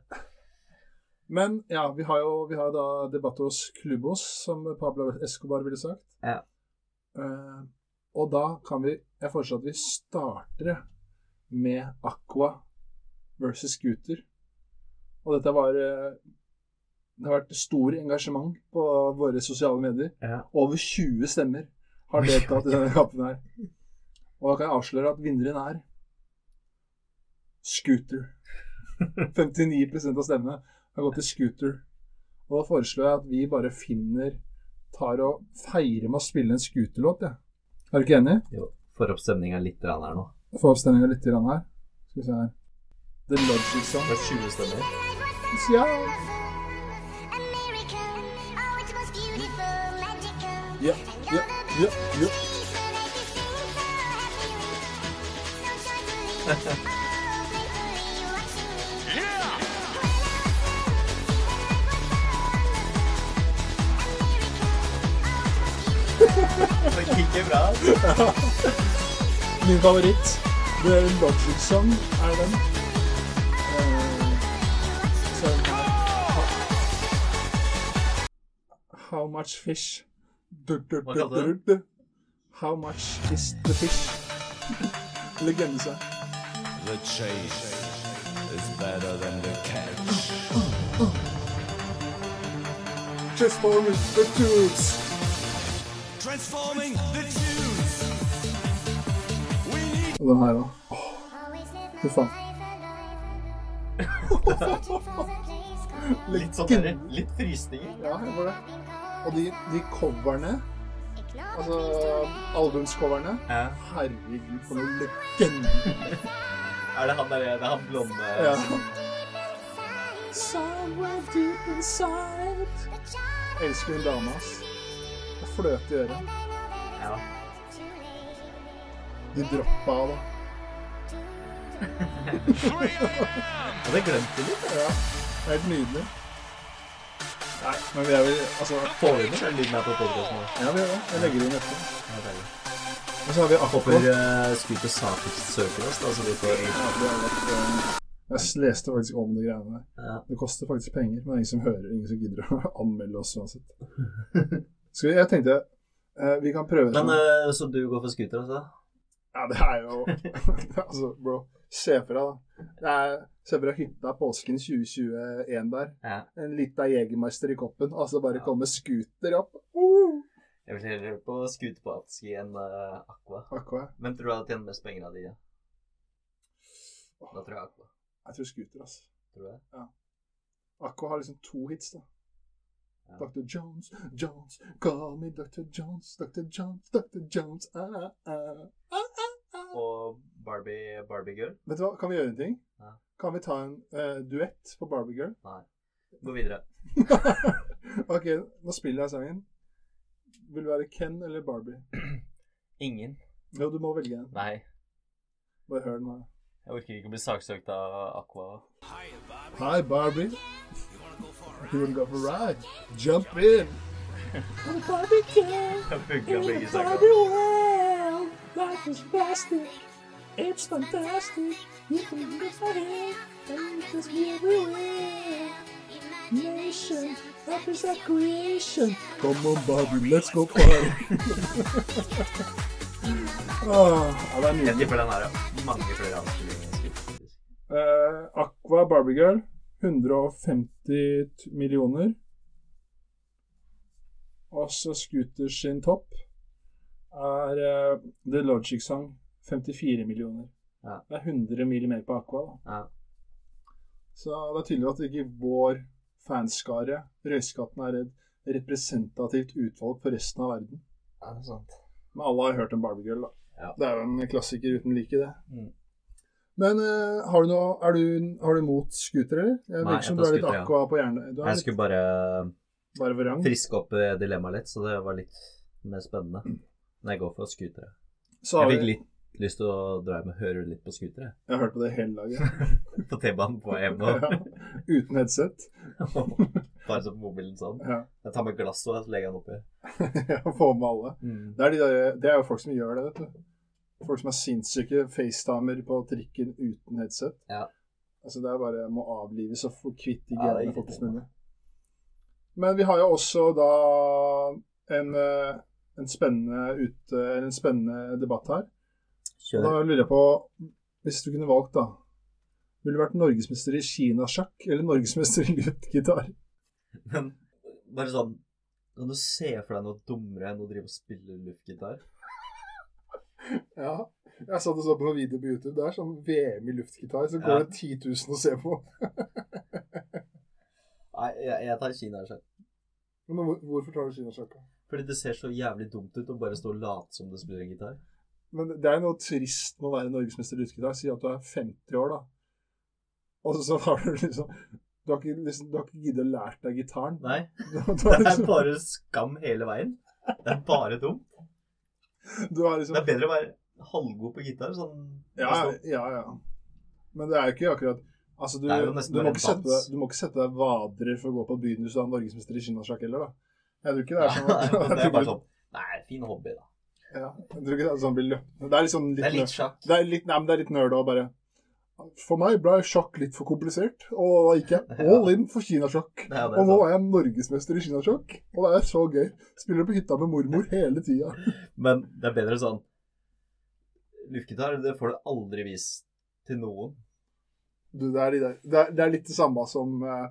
Speaker 2: Men ja, vi har jo vi har da Debatos Klubbos, som Pablo Escobar ville sagt.
Speaker 4: Ja.
Speaker 2: Eh, og da kan vi Jeg foreslår at vi starter med Aqua versus Scooter. Og dette var eh, Det har vært stor engasjement på våre sosiale medier.
Speaker 4: Ja.
Speaker 2: Over 20 stemmer har deltatt i denne kampen her. Og da kan jeg avsløre at vinneren er Scooter. 59 av stemmene har gått til Scooter. Og da foreslår jeg at vi bare finner Tar og feirer med å spille en Scooter-låt, jeg. Er du ikke enig?
Speaker 4: Jo, Får opp stemninga litt grann her nå.
Speaker 2: Få opp stemninga litt grann her. Skal vi se her. The Logic Song.
Speaker 4: Det er 20 stemmer.
Speaker 2: Ja. Ja, ja, ja, ja.
Speaker 4: Det kicker bra.
Speaker 2: Min favoritt. The Logic Song er den. Eh, så- How much fish? Du, du,
Speaker 4: Hva
Speaker 2: du,
Speaker 4: kalte du
Speaker 2: du, du. How much is the fish? Legende seg.
Speaker 5: The chase is better than the catch.
Speaker 2: Transformers, the tubes.
Speaker 5: Transforming the tunes. We need
Speaker 2: Og den her da. Fy faen.
Speaker 4: Litt sånn der, litt frysninger.
Speaker 2: Ja, jeg var det. Og de, de coverne Altså albumscoverne.
Speaker 4: Ja.
Speaker 2: Herregud, for noen legender.
Speaker 4: Er det han der, det er han blonde
Speaker 2: Ja. Elsker hun dama, ass. Det er Fløte i øret.
Speaker 4: Ja.
Speaker 2: De droppa av, da.
Speaker 4: Hadde jeg glemt det litt?
Speaker 2: Ja. Det er helt nydelig. Nei, men vi er vel Altså,
Speaker 4: Får vi med den lyden her på podcasten vår?
Speaker 2: ja, vi er det. Jeg legger det inn etterpå.
Speaker 4: Ja, det er det.
Speaker 2: Og så har vi Aqua.
Speaker 4: Håper uh, Scooter Sakers søker oss, da, så vi får
Speaker 2: Ja, det er litt, eh, Jeg leste faktisk om de greiene der.
Speaker 4: Ja.
Speaker 2: Det koster faktisk penger, men det er ingen som hører, ingen som gidder å anmelde oss uansett. Så jeg tenkte eh, vi kan prøve
Speaker 4: Men
Speaker 2: sånn-
Speaker 4: eh, så du går for Scooter, altså?
Speaker 2: Ja, det er jo Altså, bro. Se for deg, da. Det er, se for deg hytta påsken 2021 der.
Speaker 4: Ja.
Speaker 2: En lita Jegermeister i koppen. Altså bare
Speaker 4: Ja.
Speaker 2: komme scooter opp. Uh!
Speaker 4: Jeg vil heller høre på Scooter på Atski enn eh, Aqua.
Speaker 2: Aqua.
Speaker 4: Hvem tror du hadde tjent mest penger av de? Ja? Da tror jeg Aqua.
Speaker 2: Jeg tror scooter, altså.
Speaker 4: Tror du det?
Speaker 2: Aqua har liksom to hits, da.
Speaker 4: Ja.
Speaker 2: Dr. Jones, Jones, call me Dr. Jones, Dr. Jones, Dr. Jones, ah, ah, ah.
Speaker 4: Og Barbie, Barbie Girl?
Speaker 2: Vet du hva, kan vi gjøre en ting?
Speaker 4: Ja.
Speaker 2: Kan vi ta en eh, duett på Barbie Girl?
Speaker 4: Nei. Gå videre.
Speaker 2: ok, nå spiller jeg sangen. Vil du være Ken eller Barbie?
Speaker 4: Ingen.
Speaker 2: Jo, du må velge en.
Speaker 4: Nei.
Speaker 2: Bare hør den her.
Speaker 4: Jeg orker ikke å bli saksøkt av Aqua.
Speaker 2: Hi, Barbie. You wanna go for a ride? Jump in.
Speaker 4: Jeg funka begge saker.
Speaker 2: Come on, Barbie, let's go party. ah, ja, det er
Speaker 4: Jeg
Speaker 2: nydelig.
Speaker 4: tipper den her har mange flere anspillinger.
Speaker 2: Eh, Aqua Barbie Girl, 150 t- millioner. Og så Scooters sin topp er eh, The Logic Song, 54 millioner.
Speaker 4: Ja.
Speaker 2: Det er 100 mil mer på Aqua, da.
Speaker 4: Ja.
Speaker 2: Så det er tydelig at ikke vår fanskare, Røyskatten, er et representativt utvalg for resten av verden.
Speaker 4: Ja, det er sant.
Speaker 2: Men alle har hørt om Barbie Girl, da.
Speaker 4: Ja.
Speaker 2: Det er jo en klassiker uten like, det.
Speaker 4: Mm.
Speaker 2: Men eh, har, du noe, er du, har du mot scooter, eller? Jeg
Speaker 4: Nei,
Speaker 2: virker som
Speaker 4: jeg
Speaker 2: du
Speaker 4: tar
Speaker 2: er litt
Speaker 4: scooter, ja.
Speaker 2: aqua på hjernen. Du er
Speaker 4: Jeg
Speaker 2: litt
Speaker 4: skulle bare eh,
Speaker 2: bare vrang.
Speaker 4: friske opp eh, dilemmaet litt, så det var litt mer spennende. Men jeg går for scootere.
Speaker 2: Mm. Så
Speaker 4: Jeg
Speaker 2: har
Speaker 4: fikk
Speaker 2: vi,
Speaker 4: litt lyst til å dra hjem og høre litt på scootere.
Speaker 2: jeg har hørt på det hele dagen.
Speaker 4: På T-banen på E hjem og
Speaker 2: ja. Uten headset.
Speaker 4: bare så på mobilen sånn.
Speaker 2: Ja.
Speaker 4: Jeg tar med glass og så legger jeg den oppi.
Speaker 2: Jeg får med alle.
Speaker 4: Mm.
Speaker 2: Det er, de der, det er jo folk som gjør det, vet du. Folk som er sinnssyke facetimer på trikken uten headset.
Speaker 4: Ja.
Speaker 2: Altså det er bare må avlives og få kvitt de
Speaker 4: Ja, det er
Speaker 2: genene
Speaker 4: ikke
Speaker 2: fortest
Speaker 4: det.
Speaker 2: mulig. Men vi har jo også da en, eh, en, spennende, ut, eller en spennende debatt her. Og da
Speaker 4: Kjør.
Speaker 2: lurer jeg på, hvis du kunne valgt da, ville du vært norgesmester i kinasjakk eller norgesmester i luftgitar?
Speaker 4: Men bare sånn Kan du se for deg noe dummere enn å drive og spille luftgitar?
Speaker 2: Ja, jeg satt og så på noen videoer på YouTube, det er sånn VM i luftgitar, så går
Speaker 4: Ja.
Speaker 2: det 10 000 å se på.
Speaker 4: Nei, jeg, jeg tar Kina sjøl.
Speaker 2: Men hvor, hvorfor tar du kinasjakk? da?
Speaker 4: Fordi det ser så jævlig dumt ut å bare stå og late som du spiller en gitar.
Speaker 2: Men det er noe trist med å være norgesmester i luftgitar, si at du er 50 år da, og så har du liksom, du har ikke, liksom, du har ikke giddet å lært deg gitaren.
Speaker 4: Nei,
Speaker 2: Du, har- du,
Speaker 4: det
Speaker 2: har
Speaker 4: er
Speaker 2: liksom,
Speaker 4: bare skam hele veien. Det er bare dumt.
Speaker 2: du har
Speaker 4: Det
Speaker 2: liksom
Speaker 4: er bedre å være halvgod på gitar. Sånn
Speaker 2: Ja, ja, ja. Men det er jo ikke akkurat Altså, du,
Speaker 4: Det er jo nesten
Speaker 2: du, må
Speaker 4: bare
Speaker 2: ikke
Speaker 4: en
Speaker 2: sette
Speaker 4: dans.
Speaker 2: deg, du må ikke sette deg vadere for å gå på byen hvis du er norgesmester i kinasjakk heller, da. Jeg tror ikke det er sånn at-
Speaker 4: Det
Speaker 2: jeg
Speaker 4: er
Speaker 2: tror
Speaker 4: bare
Speaker 2: ikke-
Speaker 4: sånn Nei, fin hobby, da.
Speaker 2: Ja, jeg tror ikke det er sånn blir løpt. Det er liksom litt,
Speaker 4: Det er litt
Speaker 2: nø-
Speaker 4: sjakk.
Speaker 2: det er litt, nei, men det er litt nerd å bare For meg ble sjakk litt for komplisert, og da gikk jeg all in for kinasjakk.
Speaker 4: Ja, det
Speaker 2: Og
Speaker 4: er
Speaker 2: nå
Speaker 4: sant.
Speaker 2: er jeg norgesmester i kinasjakk, og det er så gøy. Spiller på hytta med mormor hele tida.
Speaker 4: Men det er bedre sånn Luftgitar, det får du aldri vist til noen.
Speaker 2: Du, det, er de der. Det, er, det er litt det samme som eh,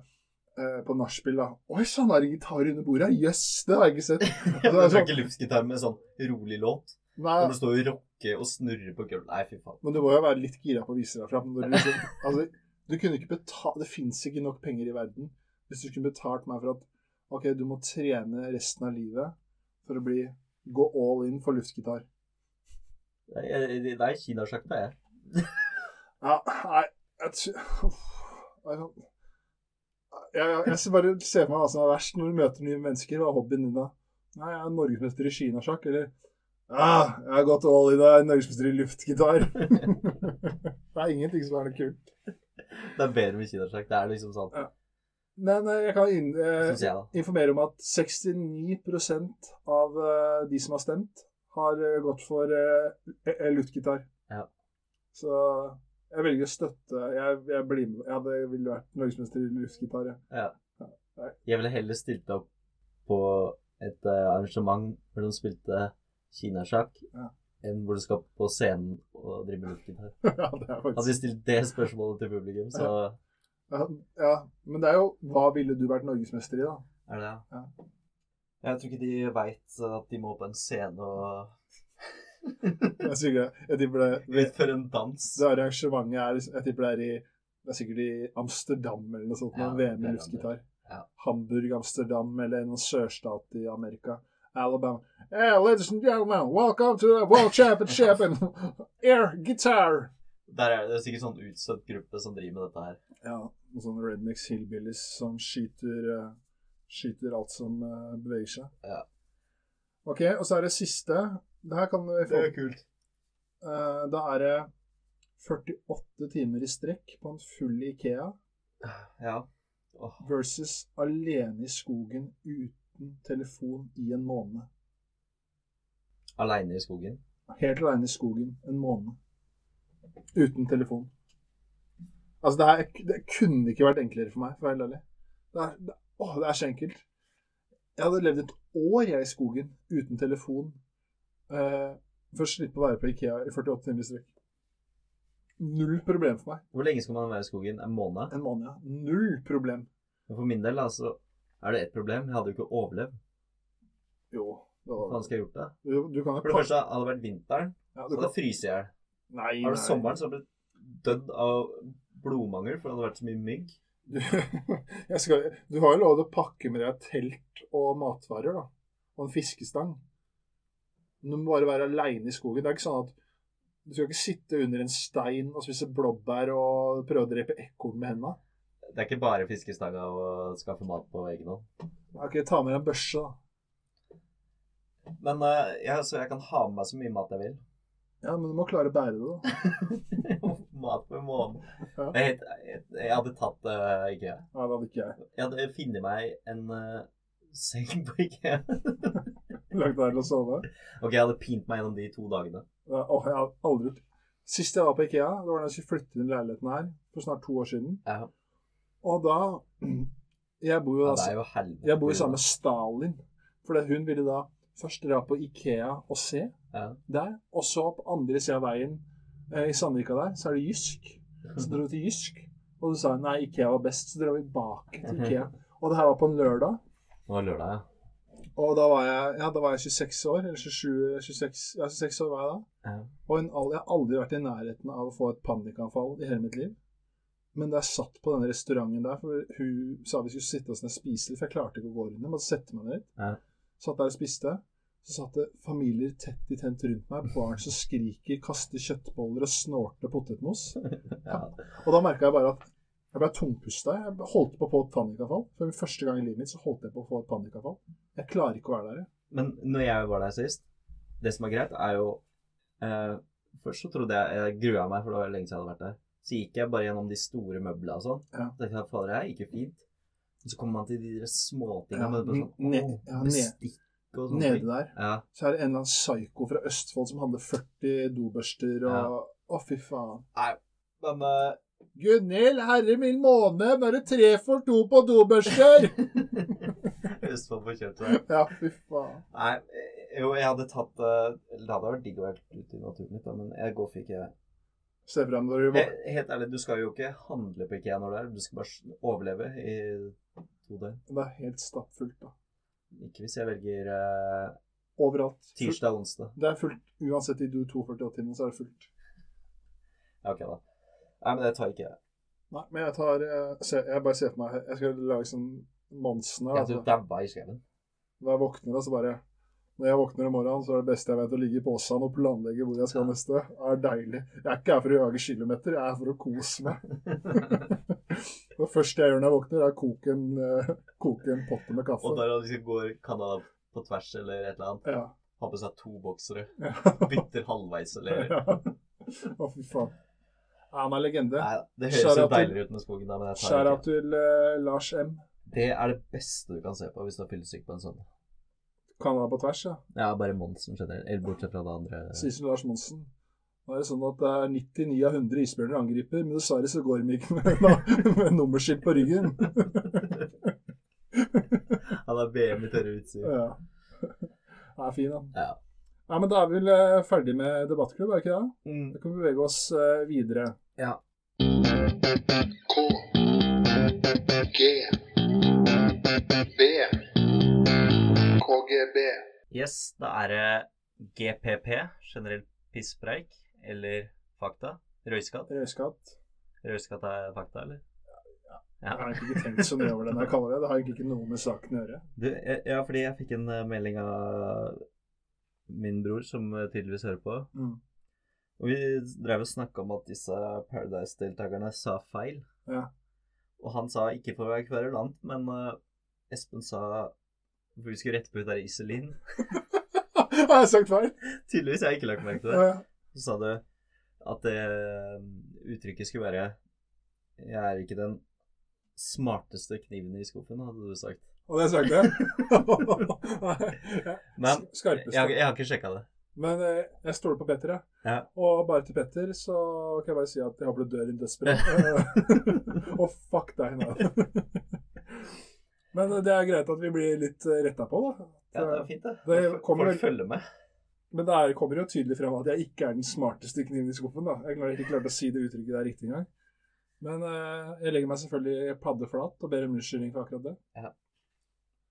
Speaker 2: eh, på nachspiel, da. Oi sann, er det gitar under bordet? Jøss, yes, det har jeg ikke sett. Altså, det er
Speaker 4: Du tar
Speaker 2: sånn,
Speaker 4: ikke luftgitar med sånn rolig låt.
Speaker 2: nei,
Speaker 4: Når du står og rocker og snurrer på gulvet. Nei, fy faen.
Speaker 2: men du må jo være litt gira på å vise deg fram. når Du, liksom, altså, du kunne ikke betale Det fins ikke nok penger i verden hvis du kunne betalt meg for at OK, du må trene resten av livet for å bli Gå all in for luftgitar.
Speaker 4: Nei, jeg- Det er kinasjakta, jeg.
Speaker 2: Ja, nei Jeg tror Uff, det er sånn- jeg, jeg, jeg ser bare ser for meg hva som er verst når du møter nye mennesker. Hva er hobbyen din da? Nei, jeg er norgesmester i kinasjakk. Eller ah, jeg har gått all in og jeg er norgesmester i luftgitar. det er ingenting som er noe kult.
Speaker 4: Det er bedre med kinasjakk. Det er liksom sånn,
Speaker 2: Men eh, jeg kan inn, eh,
Speaker 4: syns jeg, da.
Speaker 2: informere om at 69 av eh, de som har stemt, har eh, gått for eh, e- e- luftgitar.
Speaker 4: Ja.
Speaker 2: Så jeg velger å støtte Jeg, jeg blir med. Jeg hadde ville vært norgesmester i luftgitar. jeg.
Speaker 4: Jeg ville heller stilt opp på et eh, arrangement hvor de spilte kinasjakk,
Speaker 2: Ja.
Speaker 4: enn hvor du skal på scenen og drive med luftgitar.
Speaker 2: ja, det er
Speaker 4: Hadde
Speaker 2: faktisk
Speaker 4: jeg stilt det spørsmålet til publikum, så
Speaker 2: ja, ja, Men det er jo Hva ville du vært norgesmester i, da?
Speaker 4: er det det.
Speaker 2: Ja.
Speaker 4: Jeg tror ikke de veit at de må på en scene og
Speaker 2: Jeg, sikkert, jeg tipper det
Speaker 4: utføre en dans.
Speaker 2: det arrangementet er liksom- Jeg tipper det er i det er sikkert i Amsterdam eller noe sånt.
Speaker 4: Ja,
Speaker 2: noen VM i
Speaker 4: det er
Speaker 2: luftgitar.
Speaker 4: Ja.
Speaker 2: Hamburg, Amsterdam eller noen sørstat i Amerika. Alabama. Hey, ladies and gentlemen, welcome to the World Championship in air guitar.
Speaker 4: Der er det sikkert sånn utstøtt gruppe som driver med dette her.
Speaker 2: Ja, noen sånne Rednecks Hillbillies som skyter, eh, skyter alt som eh, beveger seg.
Speaker 4: Ja.
Speaker 2: Ok, og så er det siste. Det her kan vi få
Speaker 4: kult.
Speaker 2: Eh, Da er det 48 timer i strekk på en full Ikea.
Speaker 4: Ja. Åh,
Speaker 2: versus alene i skogen uten telefon i en måned.
Speaker 4: Aleine i skogen.
Speaker 2: Helt alene i skogen en måned. Uten telefon. Altså, det, her, det kunne ikke vært enklere for meg, for å være helt ærlig. Det er, det, åh, det er så enkelt. Jeg hadde levd et år jeg i skogen uten telefon eh, for å slippe å være på Ikea i 48 timer i strekk. Null problem for meg.
Speaker 4: Hvor lenge skal man være i skogen? En måned?
Speaker 2: En måned, ja. Null problem.
Speaker 4: Men For min del da, så er det ett problem. Jeg hadde jo ikke overlevd.
Speaker 2: Jo. det
Speaker 4: Hva faen
Speaker 2: var-
Speaker 4: skal jeg gjort da?
Speaker 2: Du, du kan jo
Speaker 4: For det første hadde det vært vinteren,
Speaker 2: Ja, du
Speaker 4: så hadde
Speaker 2: kan,
Speaker 4: jeg fryst i hjel.
Speaker 2: nei,
Speaker 4: Hadde det
Speaker 2: nei.
Speaker 4: sommeren, så hadde jeg blitt dødd av blodmangel, for det hadde vært så mye mygg.
Speaker 2: Du, jeg skal, du har jo lov til å pakke med deg telt og matvarer, da. Og en fiskestang. Men Du må bare være aleine i skogen. Det er ikke sånn at Du skal ikke sitte under en stein og spise blåbær og prøve å drepe ekorn med henda.
Speaker 4: Det er ikke bare fiskestanga og skaffe mat på egen hånd.
Speaker 2: Ok, ta med deg en børse, da.
Speaker 4: Men eh, jeg, så jeg kan ha med meg så mye mat jeg vil.
Speaker 2: Ja, men du må klare å bære det, da.
Speaker 4: mat på en måned.
Speaker 2: Ja.
Speaker 4: Jeg, jeg, jeg hadde tatt uh, IKEA.
Speaker 2: Nei, det hadde ikke jeg.
Speaker 4: Jeg hadde funnet meg en eh, seng på IKEA.
Speaker 2: Lagd deg til å sove.
Speaker 4: Ok, jeg hadde pint meg gjennom de to dagene.
Speaker 2: Ja, Åh, jeg har aldri Sist jeg var på Ikea, det var da jeg skulle flytte inn i leiligheten her for snart to år siden.
Speaker 4: Ja.
Speaker 2: Og da Jeg bor jo
Speaker 4: Ja,
Speaker 2: da
Speaker 4: det er jo helvete.
Speaker 2: Jeg bor jo sammen med Stalin. For hun ville da først dra på Ikea og se
Speaker 4: Ja.
Speaker 2: der. Og så på andre sida av veien eh, i Sandvika der, så er det Jysk. Så dro vi til Jysk, og så sa hun nei, Ikea var best. Så dro vi bak til
Speaker 4: Mhm.
Speaker 2: Ikea. Og det her var på en lørdag.
Speaker 4: Det var lørdag, ja.
Speaker 2: Og da var jeg, ja, da var jeg 26 år. Eller 27 26, ja, 26 år var jeg da.
Speaker 4: Ja.
Speaker 2: Og en, al- jeg har aldri vært i nærheten av å få et panikkanfall i hele mitt liv. Men da jeg satt på denne restauranten der, for hun sa vi skulle sitte oss ned og spise litt, for jeg klarte ikke å gå rundt, jeg måtte sette meg ned.
Speaker 4: Ja.
Speaker 2: Satt der og spiste. Så satt det familier tett i tent rundt meg, barn som skriker, kaster kjøttboller og snorter potetmos.
Speaker 4: ja.
Speaker 2: Og da merka jeg bare at jeg ble tungpusta. Jeg holdt på å få et panikkanfall. For første gang i livet mitt så holdt jeg på å få et panikkanfall. Jeg klarer ikke å være der. jeg.
Speaker 4: Men når jeg var der sist, det som er greit, er jo eh, Først så trodde jeg Jeg grua meg, for det var lenge siden jeg hadde vært der. Så gikk jeg bare gjennom de store møblene og sånn.
Speaker 2: Ja.
Speaker 4: Tenkte jeg, fader, det her gikk jo fint. Og så kommer man til de der småtingene.
Speaker 2: Ja,
Speaker 4: med bare sånn,
Speaker 2: ne-
Speaker 4: åh,
Speaker 2: ja, ne-
Speaker 4: bestikk og sånne
Speaker 2: Nede
Speaker 4: ting.
Speaker 2: der
Speaker 4: Ja.
Speaker 2: så er det en eller annen psyko fra Østfold som hadde 40 dobørster og Å, fy faen.
Speaker 4: Men eh,
Speaker 2: Gunhild, herre min måne, nå er det tre for to på dobørster!
Speaker 4: Østfold får kjørt seg.
Speaker 2: ja, fy faen.
Speaker 4: Nei, eh, jo, jeg hadde tatt eh, eller Det hadde vært digg å være ute i naturen litt, da, men jeg går for ikke
Speaker 2: Se frem når du våk-
Speaker 4: He- Helt ærlig, du skal jo ikke handle på IKEA når du er der. Du skal bare s- overleve i to døgn.
Speaker 2: Det er helt stappfullt, da.
Speaker 4: Ikke hvis jeg velger eh,
Speaker 2: Overalt. Fullt.
Speaker 4: tirsdag og onsdag.
Speaker 2: Det er fullt. Uansett, i du 248-timene så er det fullt.
Speaker 4: Ja, ok, da. Nei, men det tar ikke jeg.
Speaker 2: Nei, men jeg tar eh, se, Jeg bare ser for meg Jeg skal lage sånn Monsen her.
Speaker 4: Jeg
Speaker 2: Altså.
Speaker 4: tror dabba i skauen.
Speaker 2: Når jeg våkner, da, så bare Når jeg våkner om morgenen, så er det beste jeg vet å ligge i posen og planlegge hvor jeg skal neste. Det er deilig. Jeg er ikke her for å jage kilometer, jeg er her for å kose meg. det første jeg gjør når jeg våkner, er å koke en, eh, koke en potte med
Speaker 4: Og
Speaker 2: kaffe.
Speaker 4: da liksom går Canada på tvers eller et eller annet.
Speaker 2: Ja.
Speaker 4: Har på seg to boksere.
Speaker 2: ja.
Speaker 4: Bytter halvveis eller
Speaker 2: Å, fy faen. Han er legende.
Speaker 4: Nei, Det høres jo
Speaker 2: Shout out til-
Speaker 4: deiligere ut med skogen, da, men jeg tar det
Speaker 2: Skjæra
Speaker 4: ikke.
Speaker 2: til eh, Lars M.
Speaker 4: Det er det beste du kan se på hvis du har fyllesyk på en sånn.
Speaker 2: Canada på tvers, ja.
Speaker 4: Ja, bare Monsen generelt. Eller bortsett fra det andre.
Speaker 2: Sier som Lars Monsen. Nå er det sånn at det er 99 av 100 isbjørner angriper, men dessverre så går de ikke med, med nummerskilt på ryggen.
Speaker 4: Han er VM i tørre utsyn.
Speaker 2: Ja. Det er fin, da.
Speaker 4: Ja.
Speaker 2: Nei, men da er vi vel eh, ferdig med debattklubb, er det ikke det?
Speaker 4: Mm.
Speaker 2: Da kan vi bevege oss eh, videre.
Speaker 6: K G B KGB
Speaker 3: Yes, da er det GPP, generelt pisspreik, eller fakta. Røyskatt.
Speaker 2: Røyskatt.
Speaker 3: Røyskatt er fakta, eller?
Speaker 2: Jeg har egentlig ikke tenkt så mye over det når jeg kaller det. Det har egentlig ikke noe med saken å gjøre.
Speaker 4: Du, jeg- ja, fordi jeg fikk en eh, melding av min bror, som eh, tydeligvis hører på.
Speaker 2: Mm.
Speaker 4: Og vi drev og snakka om at disse Paradise-deltakerne sa feil.
Speaker 2: Ja.
Speaker 4: Og han sa ikke for å være kverulant, men eh, Espen sa For vi skulle rette på hun der Iselin.
Speaker 2: har jeg sagt feil?
Speaker 4: Tydeligvis har jeg ikke lagt merke til
Speaker 2: Ja,
Speaker 4: det.
Speaker 2: ja.
Speaker 4: Så sa du at det eh, uttrykket skulle være Jeg er ikke den smarteste kniven i skuffen, hadde du sagt.
Speaker 2: Og det har jeg sagt, det. Nei.
Speaker 4: Men jeg,
Speaker 2: Skarpeste.
Speaker 4: har- jeg har ikke sjekka det.
Speaker 2: Men eh, jeg stoler på Petter, jeg.
Speaker 4: Ja.
Speaker 2: Og bare til Petter så kan jeg bare si at jeg håper du dør i en dødsbrand. og fuck deg, nei. Men eh, det er greit at vi blir litt retta på, da.
Speaker 4: Ja, det er fint, det.
Speaker 2: Det
Speaker 4: Folk-
Speaker 2: kommer
Speaker 4: Folk
Speaker 2: vel-
Speaker 4: følger med.
Speaker 2: Men det er, kommer jo tydelig frem at jeg ikke er den smarteste kniven i skuffen. da. Jeg klarer ikke klarte å si det uttrykket der riktig engang. Men eh, jeg legger meg selvfølgelig paddeflat og ber om unnskyldning for akkurat det.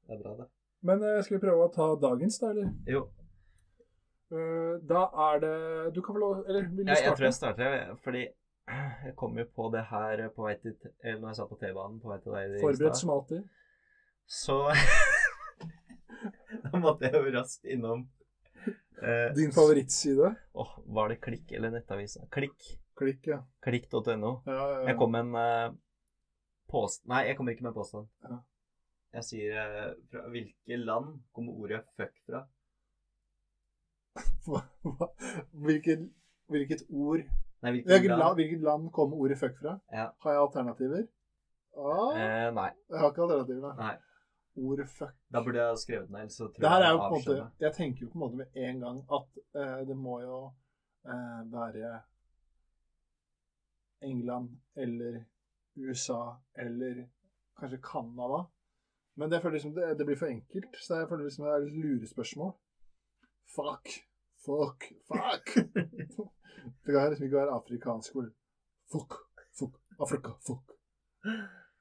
Speaker 4: Det er bra, det.
Speaker 2: Men eh, skal vi prøve å ta dagens, da, eller?
Speaker 4: Jo.
Speaker 2: Eh, da er det Du kan få lov Eller vil du
Speaker 4: Ja, jeg tror
Speaker 2: starte?
Speaker 4: jeg starter, jeg, fordi jeg kom jo på det her på vei til Eller når jeg satt på T-banen på vei til deg i
Speaker 2: Forberedt
Speaker 4: stad,
Speaker 2: som alltid.
Speaker 4: Så da måtte jeg jo raskt innom eh,
Speaker 2: Din favorittside?
Speaker 4: Åh, var det Klikk eller Nettavisa? Klikk.
Speaker 2: Klikk, ja.
Speaker 4: Klikk.no.
Speaker 2: Ja, ja, ja.
Speaker 4: Jeg kom med en eh, påst... Nei, jeg kommer ikke med en påstand.
Speaker 2: Ja.
Speaker 4: Jeg sier eh, fra hvilke land kommer ordet fuck fra?
Speaker 2: Hva- hva- Hvilket, hvilket ord
Speaker 4: Nei, hvilke
Speaker 2: hvilket land,
Speaker 4: land?
Speaker 2: hvilket land kom ordet fuck fra?
Speaker 4: Ja.
Speaker 2: Har jeg alternativer? Ah,
Speaker 4: Eh, nei.
Speaker 2: jeg har ikke alternativer, nei.
Speaker 4: nei.
Speaker 2: Ordet fuck.
Speaker 4: Da burde jeg ha skrevet den, ellers så tror
Speaker 2: Det her
Speaker 4: jeg
Speaker 2: er jo på
Speaker 4: jeg
Speaker 2: en måte,
Speaker 4: avskjønner.
Speaker 2: Jeg tenker jo på en måte med en gang at eh, det må jo eh, være England eller USA eller kanskje Canada. Men det, føler liksom, det, det blir for enkelt, så jeg føler liksom det er litt lurespørsmål. Fuck, fuck, fuck. det kan liksom ikke være afrikansk ord. Fuck, fuck, Afrika, fuck.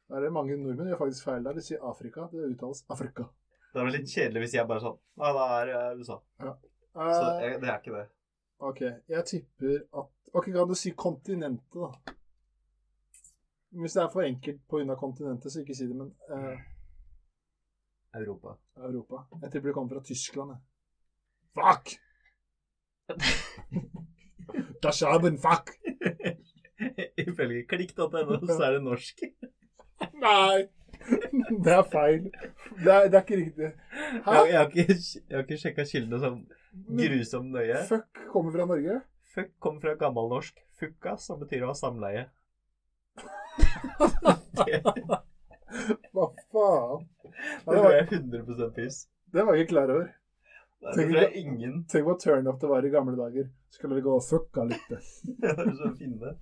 Speaker 2: Da er det mange nordmenn gjør faktisk feil der. De sier Afrika, det uttales Afrika.
Speaker 4: Det er vel litt kjedelig hvis jeg bare sånn Nei, det er eh, USA. Så
Speaker 2: Eh,
Speaker 4: jeg, det er ikke det.
Speaker 2: Ok, jeg tipper at Ok, kan du si kontinentet, da? Hvis det er for enkelt på grunn av kontinentet, så ikke si det, men eh,
Speaker 4: Europa.
Speaker 2: Europa. Jeg tipper det kommer fra Tyskland, jeg. Fuck! Das haben fuck!
Speaker 4: Ifølge klikk.no så er det norsk.
Speaker 2: Nei! Det er feil. Det er, det er ikke riktig. Hæ?
Speaker 4: Jeg, jeg har ikke, jeg har ikke sjekka kildene sånn
Speaker 2: Men
Speaker 4: grusomt nøye.
Speaker 2: Fuck kommer fra Norge.
Speaker 4: Fuck kom fra gammelnorsk fukka, som betyr å ha samleie. Det,
Speaker 2: Hva faen?
Speaker 4: det
Speaker 2: Det
Speaker 4: var
Speaker 2: var,
Speaker 4: jeg 100 piss.
Speaker 2: det var jeg ikke klar over.
Speaker 4: Det er fra ingen
Speaker 2: Tenk hvor turn up det var i gamle dager. Skulle vi gå og fucka litt?
Speaker 4: som finne.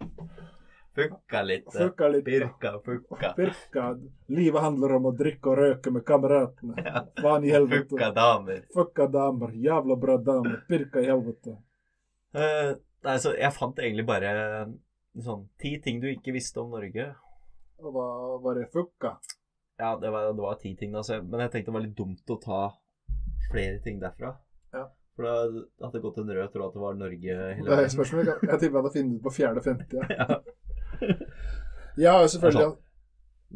Speaker 4: Fukka litt.
Speaker 2: Fucka litt.
Speaker 4: Birka, fukka.
Speaker 2: Virka. Livet handler om å drikke og røke med kameratene.
Speaker 4: Ja.
Speaker 2: Faen i helvete.
Speaker 4: Fukka damer.
Speaker 2: Fucka damer. Jævla bra damer. Pirka i helvete.
Speaker 4: Eh, nei, så jeg fant egentlig bare sånn ti ting du ikke visste om Norge.
Speaker 2: Og hva var det fucka?
Speaker 4: Ja, det var, det var ti ting, da, så jeg- men jeg tenkte det var litt dumt å ta flere ting derfra.
Speaker 2: Ja.
Speaker 4: For da hadde det gått en rød tråd at det var Norge hele
Speaker 2: Det er et
Speaker 4: veien.
Speaker 2: spørsmål jeg, jeg tipper jeg hadde funnet ut på fjerde femte. Ja. Jeg har jo selvfølgelig
Speaker 4: Altså.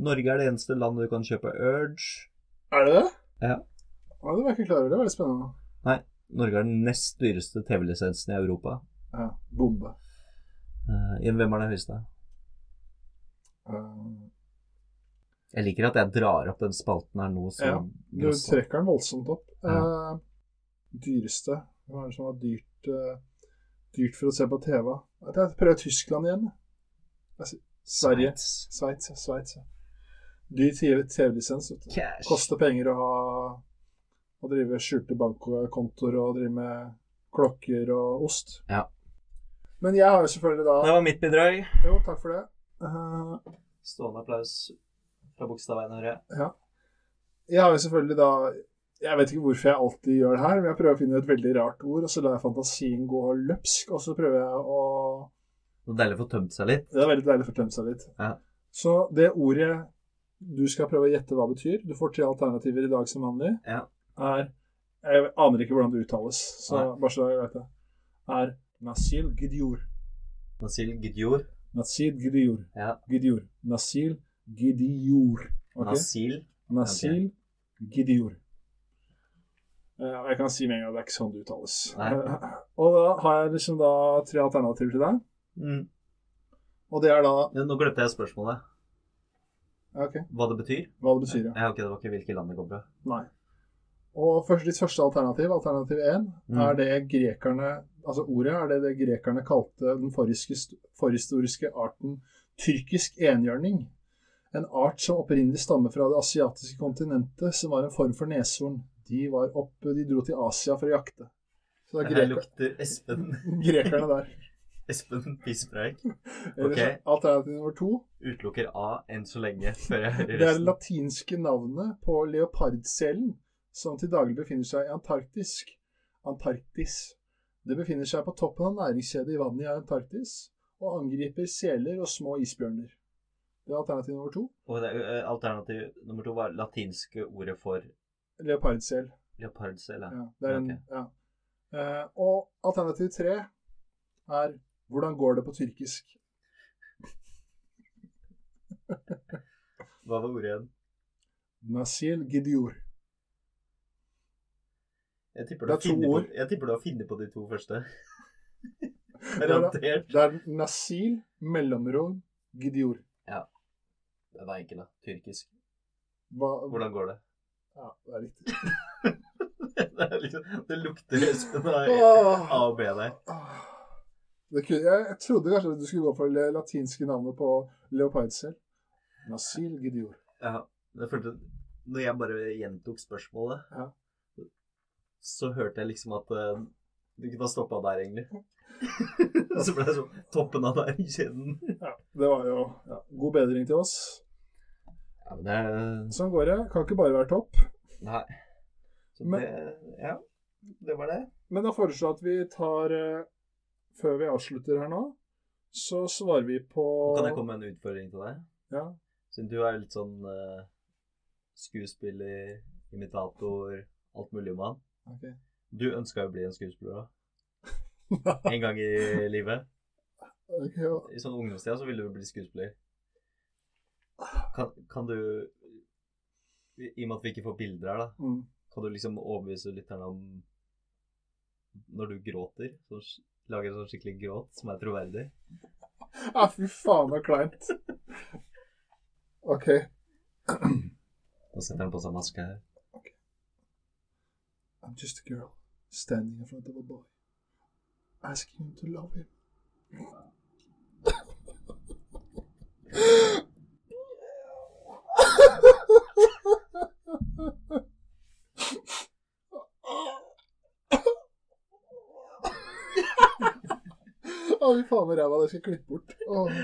Speaker 4: Norge er det eneste land du kan kjøpe Urge.
Speaker 2: Er det det?
Speaker 4: Ja.
Speaker 2: Ja, det var jeg ikke klar over. Det var litt spennende.
Speaker 4: Norge har den nest dyreste TV-lisensen i Europa.
Speaker 2: Ja, bombe.
Speaker 4: Eh, hvem er det høyeste?
Speaker 2: Eh,
Speaker 4: Jeg liker at jeg drar opp den spalten her nå.
Speaker 2: Ja,
Speaker 4: Som
Speaker 2: Du trekker den voldsomt opp.
Speaker 4: Ja.
Speaker 2: Eh, dyreste Hva er det som var dyrt eh, Dyrt for å se på TV? At Jeg prøver Tyskland igjen. Altså, Sverige.
Speaker 4: Sveits.
Speaker 2: Sveits. ja, Sveits. ja. Dyr TV-lisens. vet du.
Speaker 4: Cash.
Speaker 2: Koster penger å ha Å drive skjulte bankkontoer og drive med klokker og ost.
Speaker 4: Ja.
Speaker 2: Men jeg har jo selvfølgelig
Speaker 4: Det
Speaker 2: da
Speaker 4: var mitt bidrag.
Speaker 2: Jo, takk for det. Eh,
Speaker 4: Stående applaus fra Bogstadveien Høyre.
Speaker 2: Jeg har jo selvfølgelig da Jeg vet ikke hvorfor jeg alltid gjør det her, men jeg prøver å finne et veldig rart ord, og så lar jeg fantasien gå løpsk, og så prøver jeg å
Speaker 4: Det er deilig å få tømt seg litt.
Speaker 2: Det er veldig deilig å fortemme seg litt.
Speaker 4: Ja.
Speaker 2: Så det ordet du skal prøve å gjette hva betyr Du får tre alternativer i dag som vanlig.
Speaker 4: Ja.
Speaker 2: Er Jeg aner ikke hvordan det uttales, så
Speaker 4: Nei.
Speaker 2: bare så jeg vet det. Er Nasil Gidjor.
Speaker 4: Nasil Gidjor.
Speaker 2: Nasil Gidjor.
Speaker 4: Ja.
Speaker 2: Gidjor. Nasil Gidjor. Ok?
Speaker 4: Nasil.
Speaker 2: Nasil Gidjor. Eh, Og jeg kan si med en gang at det er ikke sånn det uttales.
Speaker 4: Nei.
Speaker 2: Eh, Og da har jeg liksom da tre alternativer til deg.
Speaker 4: Mm.
Speaker 2: Og det er da
Speaker 4: Ja, Nå glemte jeg spørsmålet.
Speaker 2: ja, Ok,
Speaker 4: Hva det betyr?
Speaker 2: hva det betyr, ja.
Speaker 4: Ja, ok, Det var ikke hvilket land det kom fra.
Speaker 2: Nei. Og først, ditt første alternativ, alternativ 1,
Speaker 4: Mm.
Speaker 2: er det grekerne Altså ordet er det det grekerne kalte den forhiske- forhistoriske arten tyrkisk enhjørning. En art som opprinnelig stammer fra det asiatiske kontinentet, som var en form for neshorn. De var oppe, de dro til Asia for å jakte. Så det er
Speaker 4: Det her
Speaker 2: greker,
Speaker 4: lukter Espen
Speaker 2: grekerne der.
Speaker 4: Espen Pispreik.
Speaker 2: Eller så-
Speaker 4: Ok.
Speaker 2: Alternativ nummer to
Speaker 4: Utelukker A enn så lenge, før jeg hører
Speaker 2: Det er det
Speaker 4: resten.
Speaker 2: latinske navnet på leopardcellen, som til daglig befinner seg i antarktisk. Antarktis. Det befinner seg på toppen av næringskjedet i vannet i Antarktis, og angriper seler og små isbjørner. Det er alternativ nummer to.
Speaker 4: Og det, er- alternativ nummer to var latinske ordet for
Speaker 2: Leopardsel.
Speaker 4: leopardsel. ja.
Speaker 2: Ja, det er en,
Speaker 4: Ok.
Speaker 2: ja. Eh, og alternativ tre er hvordan går det på tyrkisk?
Speaker 4: Hva var ordet igjen?
Speaker 2: Nasil Gidior.
Speaker 4: Jeg tipper du
Speaker 2: Det er
Speaker 4: har funnet
Speaker 2: to
Speaker 4: på,
Speaker 2: ord.
Speaker 4: jeg tipper du har funnet på de to første.
Speaker 2: er det.
Speaker 4: Garantert.
Speaker 2: Det er Nasil mellomrom Gidior.
Speaker 4: Det var enkelt, da. Tyrkisk.
Speaker 2: Hva,
Speaker 4: Hvordan går det?
Speaker 2: Ja, det er riktig.
Speaker 4: Det, er liksom, det lukter Espen av
Speaker 2: Åh.
Speaker 4: A og B der.
Speaker 2: Ah. Det kunne, jeg, jeg trodde kanskje du skulle gå for det latinske navnet på leopardsel. Nasil Gidior.
Speaker 4: Ja, jeg følte Når jeg bare gjentok spørsmålet,
Speaker 2: Ja.
Speaker 4: så hørte jeg liksom at eh, du kunne ha stoppa der, egentlig. Og så ble det sånn toppen av der i kjeden.
Speaker 2: Ja, det var jo ja, god bedring til oss.
Speaker 4: Ja, men det
Speaker 2: Sånn går det. Kan ikke bare være topp.
Speaker 4: Nei. Så
Speaker 2: Men-
Speaker 4: det, ja, det var det.
Speaker 2: Men da foreslår jeg at vi tar eh, Før vi avslutter her nå, så svarer vi på
Speaker 4: Nå kan jeg komme med en utfordring til deg.
Speaker 2: Ja.
Speaker 4: Siden du er litt sånn eh, skuespiller, imitator, alt mulig mann.
Speaker 2: ok.
Speaker 4: Du ønska jo å bli en skuespiller da. En gang i livet.
Speaker 2: Ok, ja.
Speaker 4: I sånn ungdomstida så ville du bli skuespiller. Kan, kan du I i og med at vi ikke får bilder her, da,
Speaker 2: Mm.
Speaker 4: kan du liksom overbevise lytterne om Når du gråter, så sk- lager en sånn skikkelig gråt som er troverdig?
Speaker 2: Ja, Ah, fy faen, så kleint. OK.
Speaker 4: Nå setter han på seg maske her.
Speaker 2: I'm just a girl standing in front of a boy, asking him to love him. Å, fy faen med ræva, det skal jeg klippe bort. Åh.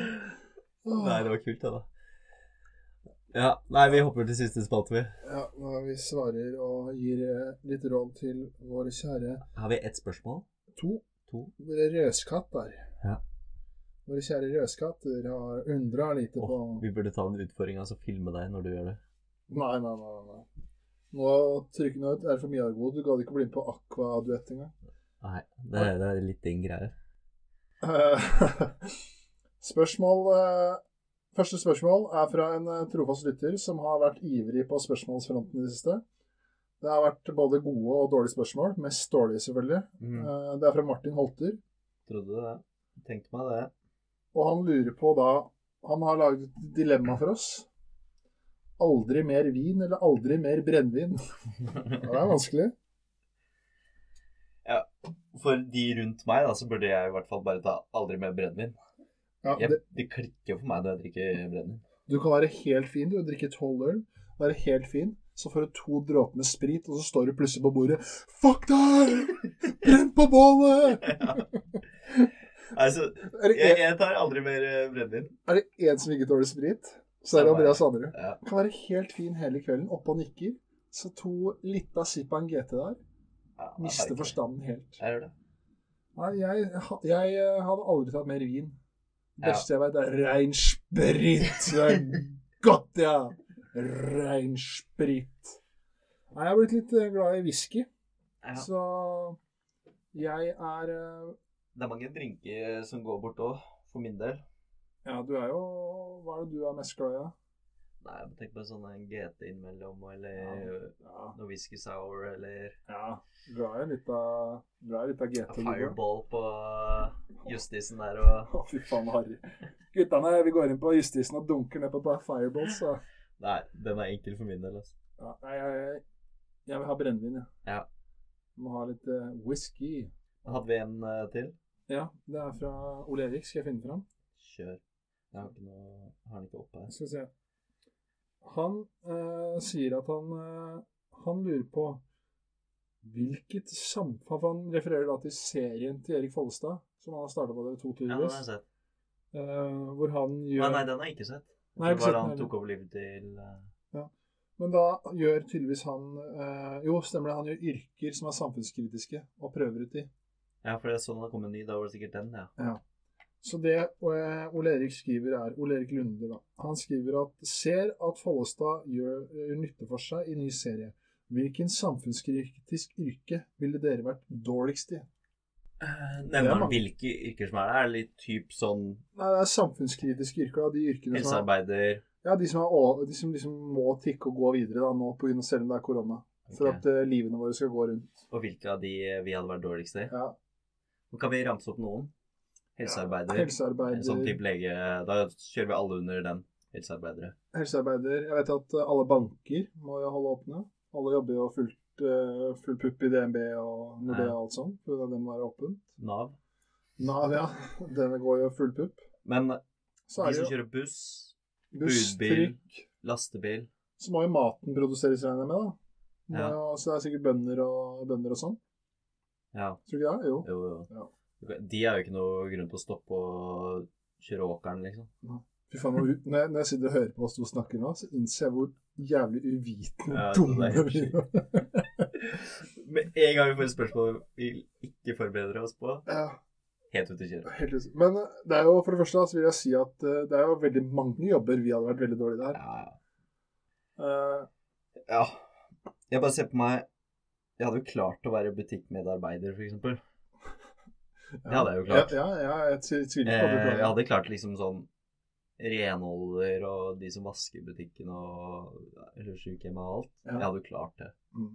Speaker 2: Åh.
Speaker 4: Nei, det var kult, det, da. Ja. Nei, vi hopper til siste spalte, vi.
Speaker 2: Ja, når vi svarer og gir eh, litt råd til våre kjære
Speaker 4: Har vi ett spørsmål?
Speaker 2: to
Speaker 4: To?
Speaker 2: Våre røskatter.
Speaker 4: Ja.
Speaker 2: Våre kjære røskatter har undra lite
Speaker 4: Åh,
Speaker 2: på
Speaker 4: vi burde ta en utfordring, altså filme deg når du gjør det.
Speaker 2: Nei, nei, nei. nei. Nå trykker nå ut. Er det for mye argo? Du gadd ikke bli med på Aqua-duett engang.
Speaker 4: Nei, det, er- det er litt din greie.
Speaker 2: Eh, spørsmål eh, Første spørsmål er fra en eh, trofast lytter som har vært ivrig på spørsmålsfronten i det siste. Det har vært både gode og dårlige spørsmål. Mest dårlige, selvfølgelig.
Speaker 4: Mm.
Speaker 2: Eh, Det er fra Martin Holter.
Speaker 4: Trodde det. Tenkte meg det.
Speaker 2: Og han lurer på da Han har laget et dilemma for oss. Aldri mer vin eller aldri mer brennevin? Ja, Det er vanskelig.
Speaker 4: For de rundt meg, da, så burde jeg i hvert fall bare ta aldri mer brennevin.
Speaker 2: Ja,
Speaker 4: Jeg-
Speaker 2: det,
Speaker 4: Det klikker for meg når jeg drikker brennevin.
Speaker 2: du kan være helt fin, du. Drikke tolv øl, være helt fin. Så får du to dråper med sprit, og så står du plutselig på bordet. Fuck deg! Brenn på bålet!
Speaker 4: Altså,
Speaker 2: Er det
Speaker 4: jeg,
Speaker 2: en-
Speaker 4: jeg tar aldri mer eh, brennevin.
Speaker 2: er det én som ikke tåler sprit, så er det Andreas Anderud.
Speaker 4: Ja.
Speaker 2: Kan være helt fin hele kvelden, oppe og nikker. Så to lita sipp av en GT der.
Speaker 4: Ja, jeg
Speaker 2: Mister
Speaker 4: merker det.
Speaker 2: forstanden helt.
Speaker 4: Jeg gjør det.
Speaker 2: Nei, jeg, ha- jeg eh, hadde aldri tatt mer vin. Det
Speaker 4: Ja.
Speaker 2: beste jeg vet, er rein sprit. Det er godt, ja. Rein sprit. Nei, jeg er blitt litt eh, glad i whisky,
Speaker 4: Ja.
Speaker 2: så jeg er eh,
Speaker 4: Det er mange drinker eh, som går bort òg, for min del.
Speaker 2: Ja, du er jo Hva er det du er mest glad i? da?
Speaker 4: Nei, jeg tenker på sånn en GT innimellom, eller eh,
Speaker 2: Ja,
Speaker 4: noe whisky sour, eller
Speaker 2: ja. Glad i litt av, glad i litt av GT. du går.
Speaker 4: fireball på eh, justisen der og
Speaker 2: Å, fy faen, harry. Guttene, vi går inn på justisen og dunker ned på et par fireballs. Så.
Speaker 4: Nei, den er enkel for min del, altså.
Speaker 2: Ja, nei, jeg, jeg vil ha brennevin, jeg.
Speaker 4: Ja.
Speaker 2: Må ha litt eh, whisky.
Speaker 4: Hadde vi en eh, til?
Speaker 2: Ja, det er fra Ole Erik. Skal jeg finne fram?
Speaker 4: Kjør. Jeg har ikke noe Har den ikke oppe her?
Speaker 2: Skal vi se. Han eh, sier at han eh, han lurer på hvilket samfunn Han refererer da til serien til Erik Follestad, som han har starta på TV2
Speaker 4: Ja, den har
Speaker 2: tydeligvis.
Speaker 4: jeg sett.
Speaker 2: eh, hvor han
Speaker 4: Nei,
Speaker 2: gjør
Speaker 4: nei, den har jeg ikke sett. Jeg
Speaker 2: Nei, jeg har
Speaker 4: tror
Speaker 2: ikke sett
Speaker 4: bare
Speaker 2: den
Speaker 4: han
Speaker 2: heller.
Speaker 4: tok over livet til eh,
Speaker 2: Men da gjør tydeligvis han eh, Jo, stemmer det. Han gjør yrker som er samfunnskritiske, og prøver ut de.
Speaker 4: Ja, for jeg så den hadde kommet en ny. Da var det sikkert den, ja.
Speaker 2: Så det eh, Ole Erik skriver er Ole Erik Lunde, da. Han skriver at ser at Follestad gjør eh, nytte for seg i ny serie. Hvilken samfunnskritisk yrke ville dere vært dårligst i? Det
Speaker 4: Eh,
Speaker 2: er
Speaker 4: Nevner han
Speaker 2: mange.
Speaker 4: hvilke yrker som er der? Er det litt typ sånn
Speaker 2: Nei, det er samfunnskritiske yrker, da. De yrkene som, er,
Speaker 4: helsearbeider
Speaker 2: ja, de som, er, å- de som liksom må tikke og gå videre da, nå, på grunn av selv om det er korona. For
Speaker 4: Ok.
Speaker 2: at eh, livene våre skal gå rundt.
Speaker 4: Og hvilke av de eh, vi hadde vært dårligst i?
Speaker 2: Ja,
Speaker 4: Kan vi ramse opp noen? Helsearbeider.
Speaker 2: helsearbeider,
Speaker 4: En sånn type lege Da kjører vi alle under den. Helsearbeidere.
Speaker 2: helsearbeider Jeg vet at eh, alle banker må jo holde åpne. Alle jobber jo fullt, eh, full pupp i DNB og Nordea
Speaker 4: Ja.
Speaker 2: og alt sånt. for Det må være åpent.
Speaker 4: Nav.
Speaker 2: Nav, ja. Denne går jo full pupp.
Speaker 4: Men
Speaker 2: Så
Speaker 4: de
Speaker 2: er det
Speaker 4: som
Speaker 2: jo
Speaker 4: kjører buss,
Speaker 2: buss,
Speaker 4: budbil.
Speaker 2: trikk
Speaker 4: lastebil
Speaker 2: Så må jo maten produseres, regner jeg med, da. Må
Speaker 4: Ja.
Speaker 2: Jo, så det er sikkert bønder og, bønder og sånn.
Speaker 4: Ja,
Speaker 2: Tror du ikke det? Jo.
Speaker 4: jo,
Speaker 2: Ja.
Speaker 4: jo. De har jo ikke noe grunn til å stoppe og kjøre åkeren, liksom.
Speaker 2: Fy faen, hvor- når jeg, når jeg sitter og hører på oss to snakke nå, så innser jeg hvor jævlig uvitende
Speaker 4: Ja,
Speaker 2: og
Speaker 4: det er
Speaker 2: dumme
Speaker 4: helt
Speaker 2: vi er.
Speaker 4: Med en gang vi får et spørsmål vi ikke forbereder oss på,
Speaker 2: Ja,
Speaker 4: helt ut i kjøret.
Speaker 2: helt lyst. Men eh, det er jo, for det første da, så vil jeg si at eh, det er jo veldig mange jobber vi hadde vært veldig dårlige der.
Speaker 4: Ja, ja.
Speaker 2: Eh,
Speaker 4: Ja. Jeg bare ser på meg Jeg hadde jo klart å være butikkmedarbeider, f.eks. Det hadde jeg jo klart.
Speaker 2: Ja, ja, ja jeg tvi- tviler ikke på at du
Speaker 4: Eh,
Speaker 2: klarer
Speaker 4: jeg
Speaker 2: det.
Speaker 4: hadde klart liksom sånn renholder og de som vasker butikken og eller sykehjem og alt.
Speaker 2: Ja.
Speaker 4: Jeg hadde jo klart det.
Speaker 2: Mm.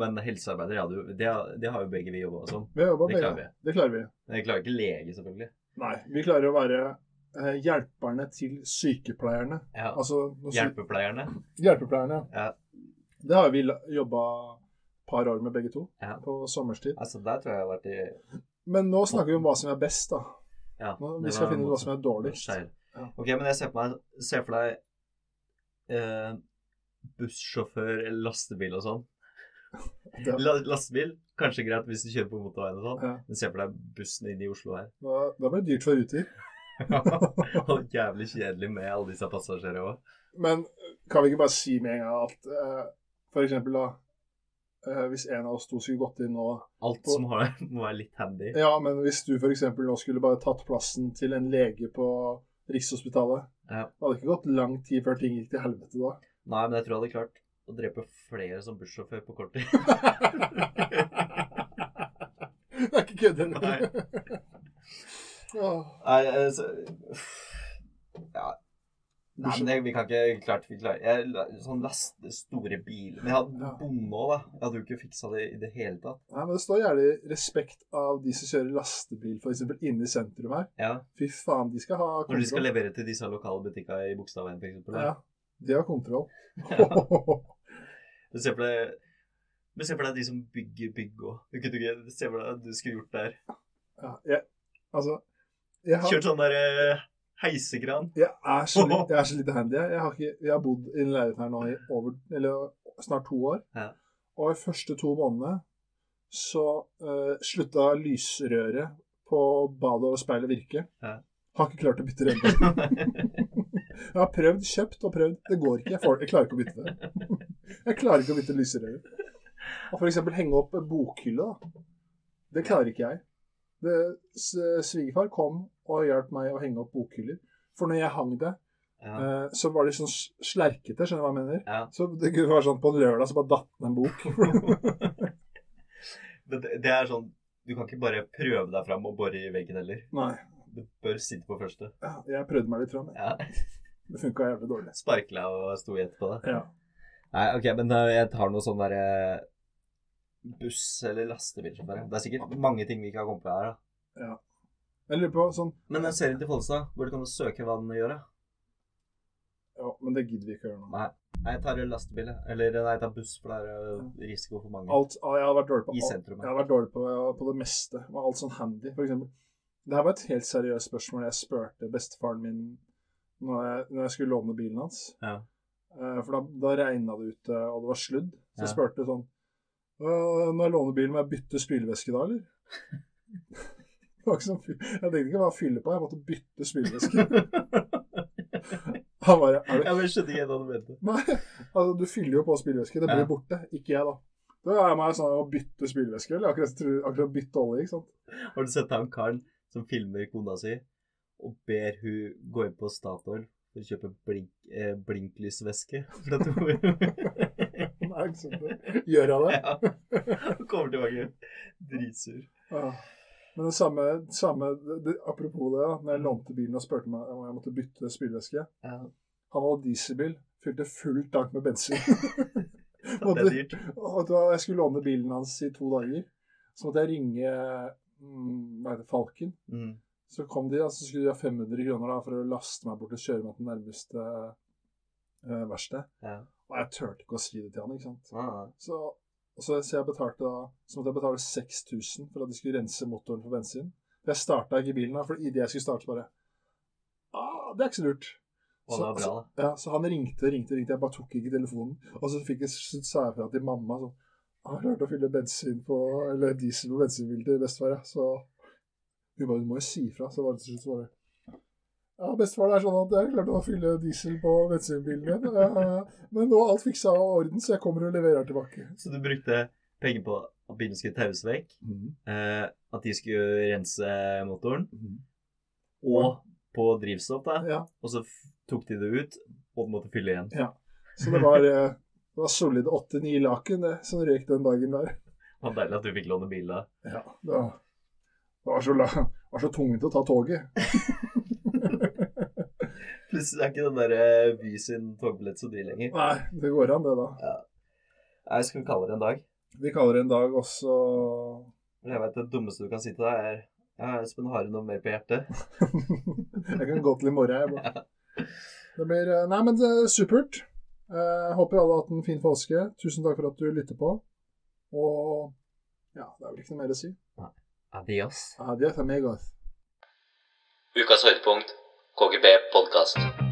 Speaker 4: Men helsearbeider, jeg hadde jo, det, det har jo begge vi jobba som.
Speaker 2: Vi har jobbet
Speaker 4: Det
Speaker 2: med
Speaker 4: klarer
Speaker 2: det.
Speaker 4: vi.
Speaker 2: Det klarer vi.
Speaker 4: Men jeg klarer ikke lege, selvfølgelig.
Speaker 2: Nei, vi klarer å være eh, hjelperne til sykepleierne.
Speaker 4: Ja.
Speaker 2: Altså, noe syk-
Speaker 4: Hjelpepleierne.
Speaker 2: hjelpepleierne.
Speaker 4: Ja.
Speaker 2: Det har vi jobba et par år med begge to,
Speaker 4: Ja.
Speaker 2: på sommerstid.
Speaker 4: Altså, der tror jeg jeg har vært i
Speaker 2: Men nå snakker vi om hva som er best, da.
Speaker 4: ja,
Speaker 2: Nå,
Speaker 4: det
Speaker 2: vi skal
Speaker 4: var
Speaker 2: finne ut hva
Speaker 4: motsatt.
Speaker 2: som er dårligst.
Speaker 4: Skeiv.
Speaker 2: Ja.
Speaker 4: Ok, men jeg ser, på meg, ser for deg eh, bussjåfør eller lastebil og sånn.
Speaker 2: Det,
Speaker 4: La, lastebil, kanskje greit hvis du kjører på motorveien og sånn.
Speaker 2: ja.
Speaker 4: Men se for deg bussen inn i Oslo her.
Speaker 2: da, da blir det dyrt for Ruter.
Speaker 4: og jævlig kjedelig med alle disse passasjerene òg.
Speaker 2: Men eh, kan vi ikke bare si med en gang at eh, for eksempel da eh, Hvis en av oss to skulle gått inn nå
Speaker 4: Alt som har må være litt handy.
Speaker 2: Ja, men hvis du for eksempel nå skulle bare tatt plassen til en lege på Rikshospitalet
Speaker 4: Ja.
Speaker 2: Det hadde ikke gått lang tid før ting gikk til helvete da.
Speaker 4: Nei, men jeg tror jeg hadde klart å drepe flere som bussjåfør på kort tid.
Speaker 2: det er ikke kødd
Speaker 4: Nei.
Speaker 2: engang. Åh,
Speaker 4: Nei, altså Ja.
Speaker 2: Du
Speaker 4: Nei, men det, vi kan ikke klart vi klarer. Jeg, la- sånn laste store biler Men jeg hadde
Speaker 2: Ja.
Speaker 4: bonde òg, da. Jeg hadde jo ikke fiksa det i det hele tatt.
Speaker 2: Nei, men Det står gjerne respekt av de som kjører lastebil for eksempel, inne i sentrum her.
Speaker 4: Ja.
Speaker 2: Fy faen, de skal ha
Speaker 4: Når
Speaker 2: kontroll.
Speaker 4: de skal levere til disse lokale butikka i Bogstadveien, f.eks.
Speaker 2: Ja, de har kontroll.
Speaker 4: Du ser for deg men se for deg de som bygger bygg òg. Du kunne ikke se for deg at du skulle gjort der.
Speaker 2: ja, jeg, altså, jeg, har,
Speaker 4: Kjørt sånn der eh, heisegran.
Speaker 2: jeg, er så, li- jeg er så lite handy. Jeg Jeg har, ikke, jeg har bodd i en leilighet her nå i over, eller snart to år.
Speaker 4: Ja.
Speaker 2: Og de første to månedene så eh, slutta lysrøret på badet og speilet å virke.
Speaker 4: Ja.
Speaker 2: Har ikke klart å bytte rømme. Jeg har prøvd, kjøpt og prøvd. Det går ikke. Jeg, får, jeg klarer ikke å bytte det. Jeg klarer ikke å bytte lyserøret. Og for eksempel henge opp bokhylle, da. Det klarer ikke jeg. Det, s- svigerfar kom og hjalp meg å henge opp bokhyller. For når jeg hang det,
Speaker 4: Ja.
Speaker 2: eh, så var de sånn s- slerkete, skjønner du hva jeg mener?
Speaker 4: Ja.
Speaker 2: Så det kunne være sånn på en lørdag så bare datt den en bok.
Speaker 4: Men det, det er sånn Du kan ikke bare prøve deg fram og bore i veggen heller.
Speaker 2: Nei.
Speaker 4: Du bør sitte på første.
Speaker 2: Ja, Jeg prøvde meg litt fram. jeg.
Speaker 4: Ja.
Speaker 2: Det funka jævlig dårlig.
Speaker 4: Sparkla og sto i etterpå, da.
Speaker 2: Ja.
Speaker 4: Nei, ok, men eh, jeg tar noe sånn derre buss- eller lastebilsjåfør. ja. Det er sikkert mange ting vi ikke har kommet på her, da.
Speaker 2: Jeg lurer på sånn
Speaker 4: Men den serien til Follestad, hvor du kan søke hva den gjør, da?
Speaker 2: Ja, men det gidder vi ikke å gjøre nå.
Speaker 4: Nei. Nei, jeg tar lastebil, jeg. eller nei, jeg tar buss, for det er eh, risiko for mange.
Speaker 2: Alt, ah, jeg har vært dårlig på
Speaker 4: I
Speaker 2: alt.
Speaker 4: sentrum, ja.
Speaker 2: Jeg har vært dårlig på, på det meste. Med alt sånn handy, for eksempel. Det her var et helt seriøst spørsmål jeg spurte bestefaren min når jeg, når jeg skulle låne bilen hans.
Speaker 4: Ja.
Speaker 2: Eh, for da, da regna det ute, og det var sludd. Så jeg
Speaker 4: Ja.
Speaker 2: spurte sånn «Øh, Når jeg låner bilen, må jeg bytte spylevæske da, eller? Det var ikke sånn, fy- jeg tenkte ikke hva jeg fylle på, jeg måtte bytte spylevæske. Han bare er du
Speaker 4: Ja, men jeg skjønte ikke helt hva du mente.
Speaker 2: Nei, altså du fyller jo på spylevæske. Det blir
Speaker 4: Ja.
Speaker 2: borte. Ikke jeg, da. Da er jeg meg sånn å bytte spylevæske, eller akkurat, tru- akkurat bytte olje, ikke sant.
Speaker 4: Har du sett han karen som filmer kona si, og ber hun gå inn på Statoil for å kjøpe blink, eh, blinklysvæske? For at hun
Speaker 2: Nei, ikke sant det. Gjør jeg det?
Speaker 4: Ja. Hun kommer tilbake dritsur.
Speaker 2: Ja. Men det samme, samme det, Apropos det, da. når jeg lånte bilen og spurte meg om jeg måtte bytte spylevæske
Speaker 4: Ja.
Speaker 2: Han hadde dieselbil, fylte full tank med bensin.
Speaker 4: Det er dyrt.
Speaker 2: Og vet du hva, jeg skulle låne bilen hans i to dager. Så måtte jeg ringe mm, hva heter det, Falken.
Speaker 4: Mm.
Speaker 2: Så kom de, og så skulle de ha 500 kroner da, for å laste meg bort og kjøre meg til nærmeste eh, verksted.
Speaker 4: Ja.
Speaker 2: Og jeg turte ikke å si det til han, ikke sant.
Speaker 4: Ja, ja.
Speaker 2: Så, og så, så jeg betalte da, så måtte jeg betale 6000 for at de skulle rense motoren for bensin. For jeg starta ikke bilen da, for idet jeg skulle starte, så bare ah, Det er ikke så lurt.
Speaker 4: Og det var bra, da.
Speaker 2: Ja, så han ringte og ringte, og ringte, jeg bare tok ikke telefonen. Og så fikk jeg så sa jeg fra til mamma sånn Jeg har klart å fylle bensin på, eller diesel på bensinbilen til bestefar, ja. Så hun bare Du må jo si ifra. Så var det til slutt så bare Ja, bestefar, det er sånn at jeg klarte å fylle diesel på bensinbilen min. eh, Men nå er alt fiksa og orden, så jeg kommer og leverer tilbake.
Speaker 4: Så du brukte penger på at bilen skulle taues vekk, eh, at de skulle rense motoren, og på drivstoff, da.
Speaker 2: Mhm. Ja.
Speaker 4: Og så f- tok de det ut, og du måtte fylle igjen.
Speaker 2: Så det var, eh, det var solide åtte-ni laken det, som røyk den dagen der.
Speaker 4: Det var deilig at du fikk låne bil da.
Speaker 2: Ja, det var, det var så, la- det var så tungvint å ta toget.
Speaker 4: Plutselig er ikke den der eh, Vy sin togbillett så dyr lenger.
Speaker 2: Nei, det går an, det, da.
Speaker 4: Nei, skal vi kalle det en dag?
Speaker 2: Vi kaller det en dag også
Speaker 4: Men Jeg vet det dummeste du kan si til deg er ja, Espen, har du noe mer på hjertet?
Speaker 2: Jeg kan gå til i morgen, jeg. bare. Det blir eh, Nei, men det er supert. Eh, håper alle har hatt en fin påske. Tusen takk for at du lytter på. Og ja, det er vel ikke noe mer å si.
Speaker 4: Adios.
Speaker 2: Adios amigos.
Speaker 1: Ukas høydepunkt, KGB podkast.